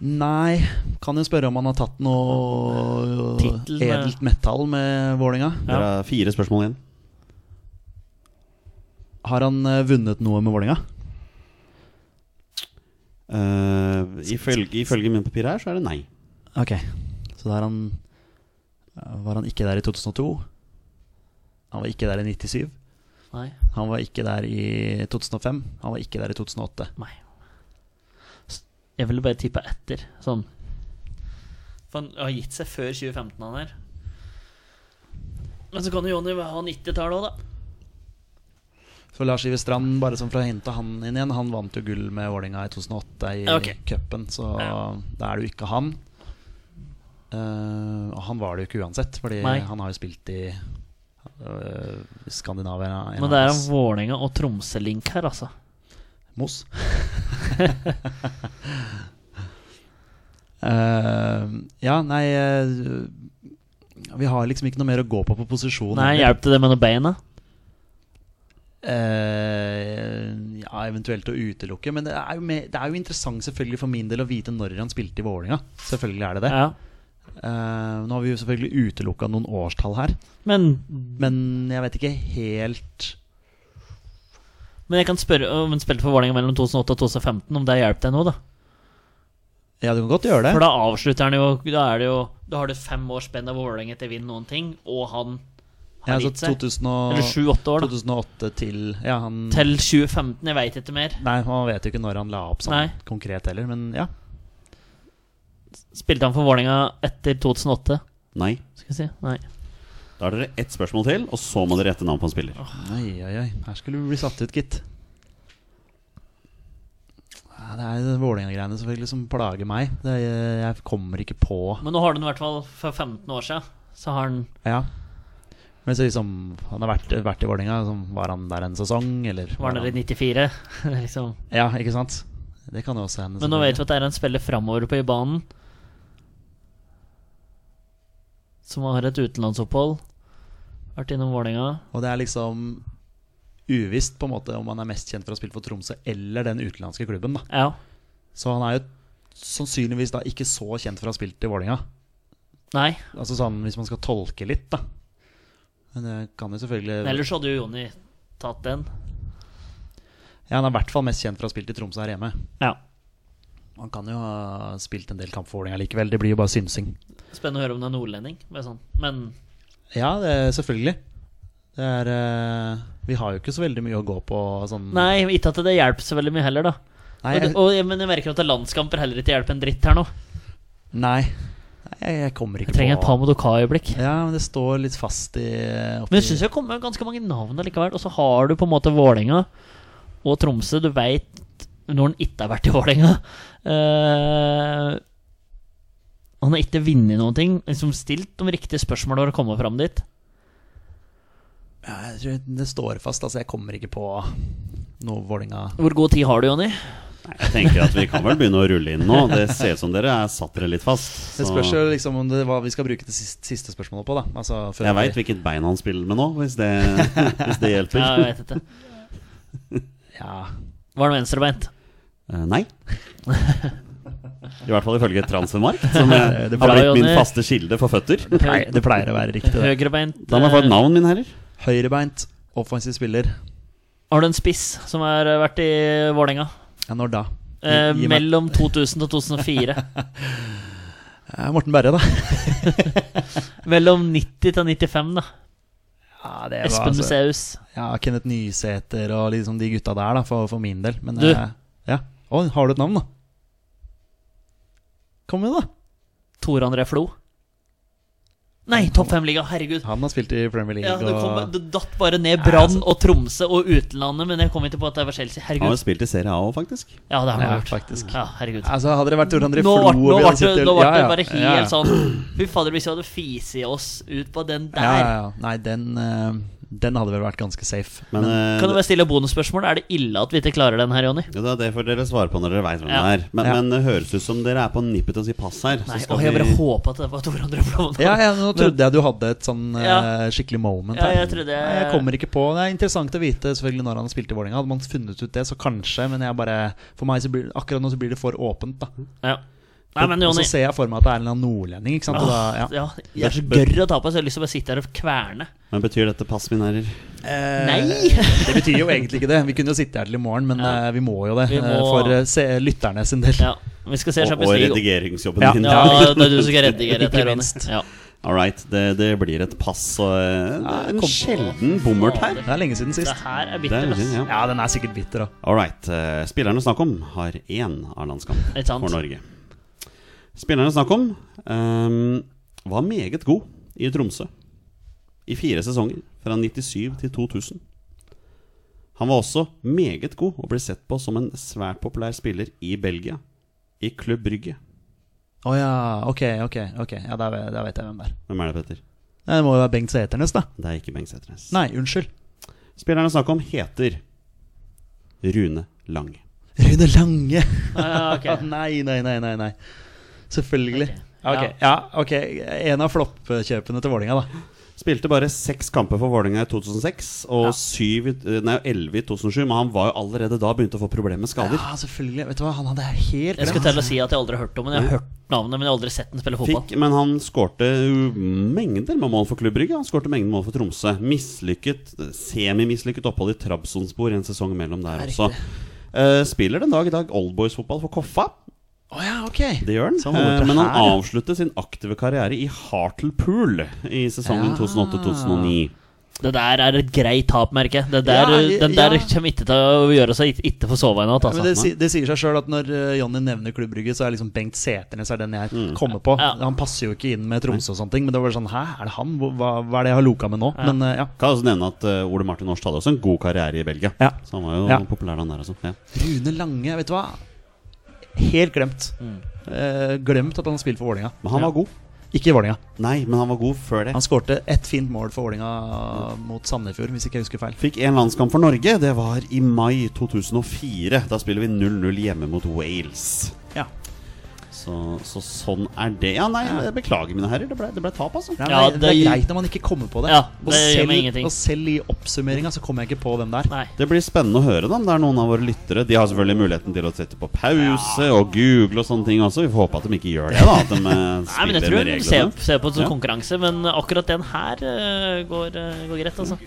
B: Nei, kan jo spørre om han har tatt noe
C: Tittel med-
B: edelt metall med Vålinga
A: Dere har fire spørsmål igjen.
B: Har han eh, vunnet noe med Vålinga
A: Uh, ifølge, ifølge mine papirer her, så er det nei.
B: Ok, så da er han øh, Var han ikke der i 2002? Han var ikke der i 97.
C: Nei.
B: Han var ikke der i 2005. Han var ikke der i 2008.
C: Nei. S- Jeg ville bare tippa etter, sånn. For han har gitt seg før 2015, han her. Men så kan jo Jonny ha 90-tallet òg, da.
B: For Lars Iver Strand, bare som for å hente han inn igjen, han vant jo gull med Vålinga i 2008 i
C: Ok.
B: cupen, så
C: Ja.
B: da er det jo ikke han. Eh, og han var det jo ikke uansett, fordi
C: Nei.
B: han har jo spilt i eh, Skandinavia. en
C: Men det er
B: av
C: en
B: hans-
C: Vålerenga og Tromsø-link her, altså.
B: Mos. Eh, ja, nei eh, Vi har liksom ikke noe mer å gå på på posisjon.
C: Nei,
B: heller.
C: hjelp til det med noen bein, da.
B: Eh, ja, eventuelt å utelukke. Men det er, jo mer- det er jo interessant selvfølgelig for min del å vite når han spilte i Vålerenga. Selvfølgelig er det det.
C: Ja.
B: Eh, nå har vi jo selvfølgelig utelukka noen årstall her,
C: Men
B: men jeg vet ikke helt
C: Men jeg kan spørre om hun spilte for Vålerenga mellom 2008 og 2015, om det hjelper deg nå, da.
B: Ja, du kan godt gjøre det.
C: For da avslutter han jo Da, er det jo, da har du fem års spenn av Vålerenga til å vinne noen ting, og han
B: ja, altså
C: har
B: så
C: gitt seg.
B: 2000 og,
C: eh, Eller sju-åtte år, da.
B: 2008 til Ja, han
C: Til 2015, jeg veit ikke mer.
B: Nei, man vet jo ikke når han la opp sånn
C: Nei.
B: konkret heller, men ja.
C: Spilte han for Vålerenga etter 2008?
A: Nei.
C: Skal vi si? Nei.
A: Da har dere ett spørsmål til, og så må dere rette navn på en spiller.
B: Oi, oi, oi. Her skulle du bli satt ut, gitt. Ja, det er jo Vålerenga-greiene selvfølgelig som plager meg. Det er, jeg kommer ikke på
C: Men nå har du den i hvert fall for 15 år siden. Så har han
B: Ja. Men så liksom, han har vært, vært i Vålerenga. Liksom, var han der en sesong, eller
C: Var han der i 94? Det er liksom.
B: Ja, ikke sant? Det kan jo også hende.
C: Men nå vet vi at det er en spiller framover på banen som har et utenlandsopphold. Vært innom Vålerenga.
B: Og det er liksom uvisst på en måte om han er mest kjent for å ha spilt for Tromsø eller den utenlandske klubben. da
C: Ja.
B: Så han er jo sannsynligvis da ikke så kjent for å ha spilt i Vålerenga.
C: Nei.
B: Altså sånn hvis man skal tolke litt, da. Men det kan jo selvfølgelig
C: Men ellers hadde jo Jonny tatt den.
B: Ja, Han er i hvert fall mest kjent for å ha spilt i Tromsø her hjemme.
C: Ja.
B: Han kan jo ha spilt en del kamp for Vålerenga likevel. Det blir jo bare synsing.
C: Spennende å høre om det er nordlending. Bare sånn. Men
B: Ja, det er selvfølgelig. Det er eh, Vi har jo ikke så veldig mye å gå på sånn
C: nei, ikke at det hjelper så veldig mye heller, da.
B: Nei,
C: Og,
B: jeg,
C: og, men jeg merker at landskamper heller ikke hjelper en dritt her nå.
B: nei. nei jeg, jeg kommer ikke
C: Jeg trenger et
B: på
C: par Modoka-øyeblikk.
B: Ja, men det står litt fast i oppi-
C: Men jeg syns det kommer ganske mange navn likevel. Og så har du på en måte Vålerenga og Tromsø. Du veit når han ikke har vært i Vålerenga. Eh, han har ikke vunnet noen ting. Liksom stilt de riktige spørsmålene for å komme fram dit.
B: ja, jeg tror Det står fast, altså. Jeg kommer ikke på noe Vålerenga
C: Hvor god tid har du, Jonny?
A: Jeg tenker at vi kan vel begynne å rulle inn nå. Det ser ut som dere er satt dere litt fast.
B: Det
A: så-
B: spørs jo liksom om det hva vi skal bruke det siste, siste spørsmålet på, da. Altså, før
A: Jeg
B: vi-
A: veit hvilket bein han spiller med nå, hvis det, hvis det hjelper.
C: Ja, jeg vet ikke.
B: Ja.
C: Var han venstrebeint?
A: Eh, nei. I hvert fall ifølge Transfermarkt, som jeg,
B: Det
A: har
C: pleier jo
A: blitt min
C: det.
A: faste kilde for føtter.
B: Nei, det pleier å være riktig, det.
C: Høyrebeint?
A: Da må jeg få
C: eh,
A: et navn, mine herrer.
B: Høyrebeint, offensiv spiller.
C: Har du en spiss som har eh, vært i Vålerenga?
B: Ja, når da?
C: Eh,
B: Gi- gi meg-
C: mellom 2000 og 2004.
B: Eh, Morten Berre, da.
C: mellom 90 til 95, da.
B: Ja, altså- det
C: Espen Museus.
B: Ja, Kenneth Nysæter og liksom de gutta der, da, for, for min del. Men
C: Du.
B: eh, ja. Å, har du et navn, da? Kom igjen, da.
C: Tore André Flo. Nei, Topp 5-liga, herregud.
B: Han har spilt i Premier League
C: Ja, du, kom,
B: og
C: du datt bare ned
B: Ja,
C: Brann
B: altså.
C: og Tromsø og utlandet, men jeg kom ikke på at det var Chelsea.
A: Han har
C: Herregud.
A: jo spilt i Serie A òg, faktisk.
C: Ja, det har
B: Ja,
C: han gjort.
B: faktisk.
C: Ja, herregud.
B: Altså, hadde det vært Tor André
C: Nå
B: Flo
C: ble nå
B: vi
C: ble det
B: hadde sittet-
C: nå ble
B: Ja,
C: det
B: ja,
C: bare helt
B: ja, ja.
C: sånn Fy fader, hvis vi hadde fisi oss ut på den der
B: Ja, ja, ja. Nei, den, eh, den hadde vel vært ganske safe.
A: Men eh,
C: Kan du bare stille bonusspørsmål? Er det ille at vi ikke klarer den her, Jonny?
A: jo, da, det får dere svare på når dere veit hvem
C: Ja.
A: det er. Men,
B: Ja.
A: men det høres ut som dere er på nippet til å si pass her.
C: Nei,
A: Så skal
C: åh, jeg bare
A: vi
C: håpa at det var Tore André Flo.
B: Ja, ja, nå trodde jeg du hadde et sånn eh,
C: Ja.
B: skikkelig moment
C: Ja,
B: her.
C: jeg trodde jeg-
B: Nei, jeg kommer ikke på Det er interessant å vite selvfølgelig når han spilte i Vålerenga. Hadde man funnet ut det, så kanskje, men jeg bare For meg så blir, akkurat nå så blir det for åpent, da.
C: Ja. Nei, men
B: og
C: Jonny
B: så ser jeg for meg at det er en eller annen nordlending, ikke sant. Og da, ja.
C: ja, Jeg er så gørr å ta på, så jeg har lyst til å bare sitte her og kverne.
A: Men betyr dette pass, mine herrer?
B: Eh,
C: Nei!
B: Det betyr jo egentlig ikke det. Vi kunne jo sitte her til i morgen, men
C: Ja.
B: eh, vi må jo det.
C: Vi må-
B: eh, For eh, se, lytterne sin del.
C: Ja, vi skal se
A: Og, og
C: Champions League.
A: redigeringsjobben
B: Ja.
A: din.
C: Ja, det er du som skal redigere dette,
B: Ikke
C: Ronny.
B: minst.
C: Ja.
A: All right, det, det blir et pass og eh,
B: Ja,
A: en
B: kom-
A: sjelden bommert her.
B: Det er lenge siden
C: Det
B: sist.
C: her er
A: Det er
C: bittert, ass.
A: synd, ja.
B: Ja, den er sikkert bitter, da.
A: All right, eh, spillerne snakk om har én A-landskamp
C: Ikke sant?
A: for Norge. Spillerne snakk om ehm, var meget god i Tromsø i fire sesonger, fra 97 til 2000. Han var også meget god og ble sett på som en svært populær spiller i Belgia, i Klubb Brygge.
B: Å ja, ok, ok. ok Ja, Da ve- da vet jeg hvem det er.
A: Hvem er det, Petter?
B: Nei, Det må jo være Bengt Sæternes, da.
A: Det er ikke Bengt Sætrenes.
B: Nei, unnskyld.
A: Spillerne snakk om heter Rune Lang.
B: Rune Lange.
C: Ja, ok.
B: Ah, nei, nei, nei, nei, nei. Selvfølgelig.
C: Ok.
B: Ja, Ok, ja, ok En av floppkjøpene til Vålinga da.
A: Spilte bare seks kamper for Vålerenga i 2006 og
C: Ja.
A: syv, i- nei, elleve i 2007. Men han var jo allerede da begynt å få problemer med skader.
B: Ja, selvfølgelig. Vet du hva, han hadde
C: Jeg
B: helt
C: skulle
B: rett.
C: til å si at jeg aldri har hørt om ham. Jeg har hørt navnet, men jeg har aldri sett ham spille fotball.
A: Fikk, men han skårte jo mengder med mål for Klubb Brygge. Han skårte mengder mål for Tromsø. Mislykket, Semimislykket opphold i Trabzonspor en sesong mellom der
B: Det er
A: også. Eh, spiller den dag i dag oldboys-fotball for Koffa.
B: Å ja, ok.
A: Det gjør han.
B: Så han holder
A: Eh,
B: til
A: men han
B: her, ja.
A: avsluttet sin aktive karriere i Hartlepool i sesongen
B: Ja.
A: 2008-2009.
C: Det der er et greit tap, merker jeg. Det der,
B: Ja,
C: Den der
B: ja.
C: kommer ikke til å gjøre seg ikke- ikke få sove i natt,
B: Men det,
C: altså.
B: si- det sier seg sjøl at når eh, Jonny nevner Klubb Brygge, så er liksom Bengt Sæternes er den jeg kommer på.
C: Ja.
B: Han passer jo ikke inn med Tromsø og sånne ting, men det var sånn Hæ, er det han? Hvor- Hva, hva er det jeg har loka med nå? Men eh, ja.
A: Kan også nevne at eh, Ole Martin Årst hadde også en god karriere i Belgia.
B: Ja.
A: Så han var jo
B: Ja.
A: populær, han der også. Ja.
B: Rune Lange, vet du hva? Helt glemt. Eh, glemt at han har spilt for Vålinga
A: Men han var god.
B: Ikke i Vålinga.
A: Nei, men han var god før det.
B: Han skårte ett fint mål for Vålinga mot Sandefjord, hvis ikke jeg husker feil.
A: Fikk én landskamp for Norge. Det var i mai 2004. Da spiller vi 0-0 hjemme mot Wales.
B: Ja.
A: Så, så sånn er det. Ja, nei, jeg beklager, mine herrer. Det ble, det ble tap, altså.
B: Nei,
C: Ja,
B: nei, det,
C: det-
B: er greit når man ikke kommer på det.
C: Ja, det
B: og,
C: gjør meg
B: selv,
C: ingenting.
B: og selv i oppsummeringa så kommer jeg ikke på hvem det er.
C: Nei.
A: Det blir spennende å høre da, om det er noen av våre lyttere. De har selvfølgelig muligheten til å sette på pause og google og sånne ting også. Vi får håpe at de ikke gjør det, da. At de eh,
C: Nei, men jeg
A: spiller
C: tror
A: med
C: hun ser,
A: reglene.
C: ser på det som
A: Ja.
C: konkurranse, men akkurat den her eh, går, eh, går greit, altså.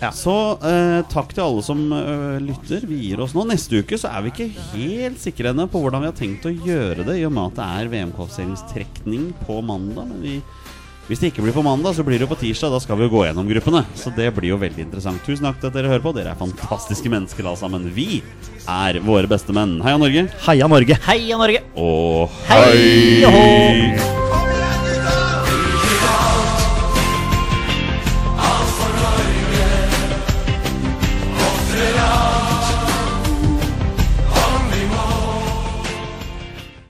A: Så eh, takk til alle som eh, lytter. Vi gir oss nå. Neste uke så er vi ikke helt sikre ennå på hvordan vi har tenkt å gjøre det, i og med at det er VM-kvalifiseringstrekning på mandag. Men vi, hvis det ikke blir på mandag, så blir det jo på tirsdag. Da skal vi jo gå gjennom gruppene. Så det blir jo veldig interessant. Tusen takk til at dere hører på. Dere er fantastiske mennesker alle sammen. Vi er våre beste menn. Heia Norge.
B: Heia Norge!
C: Heia Norge!
A: Og
C: Hei og hå!
A: hei!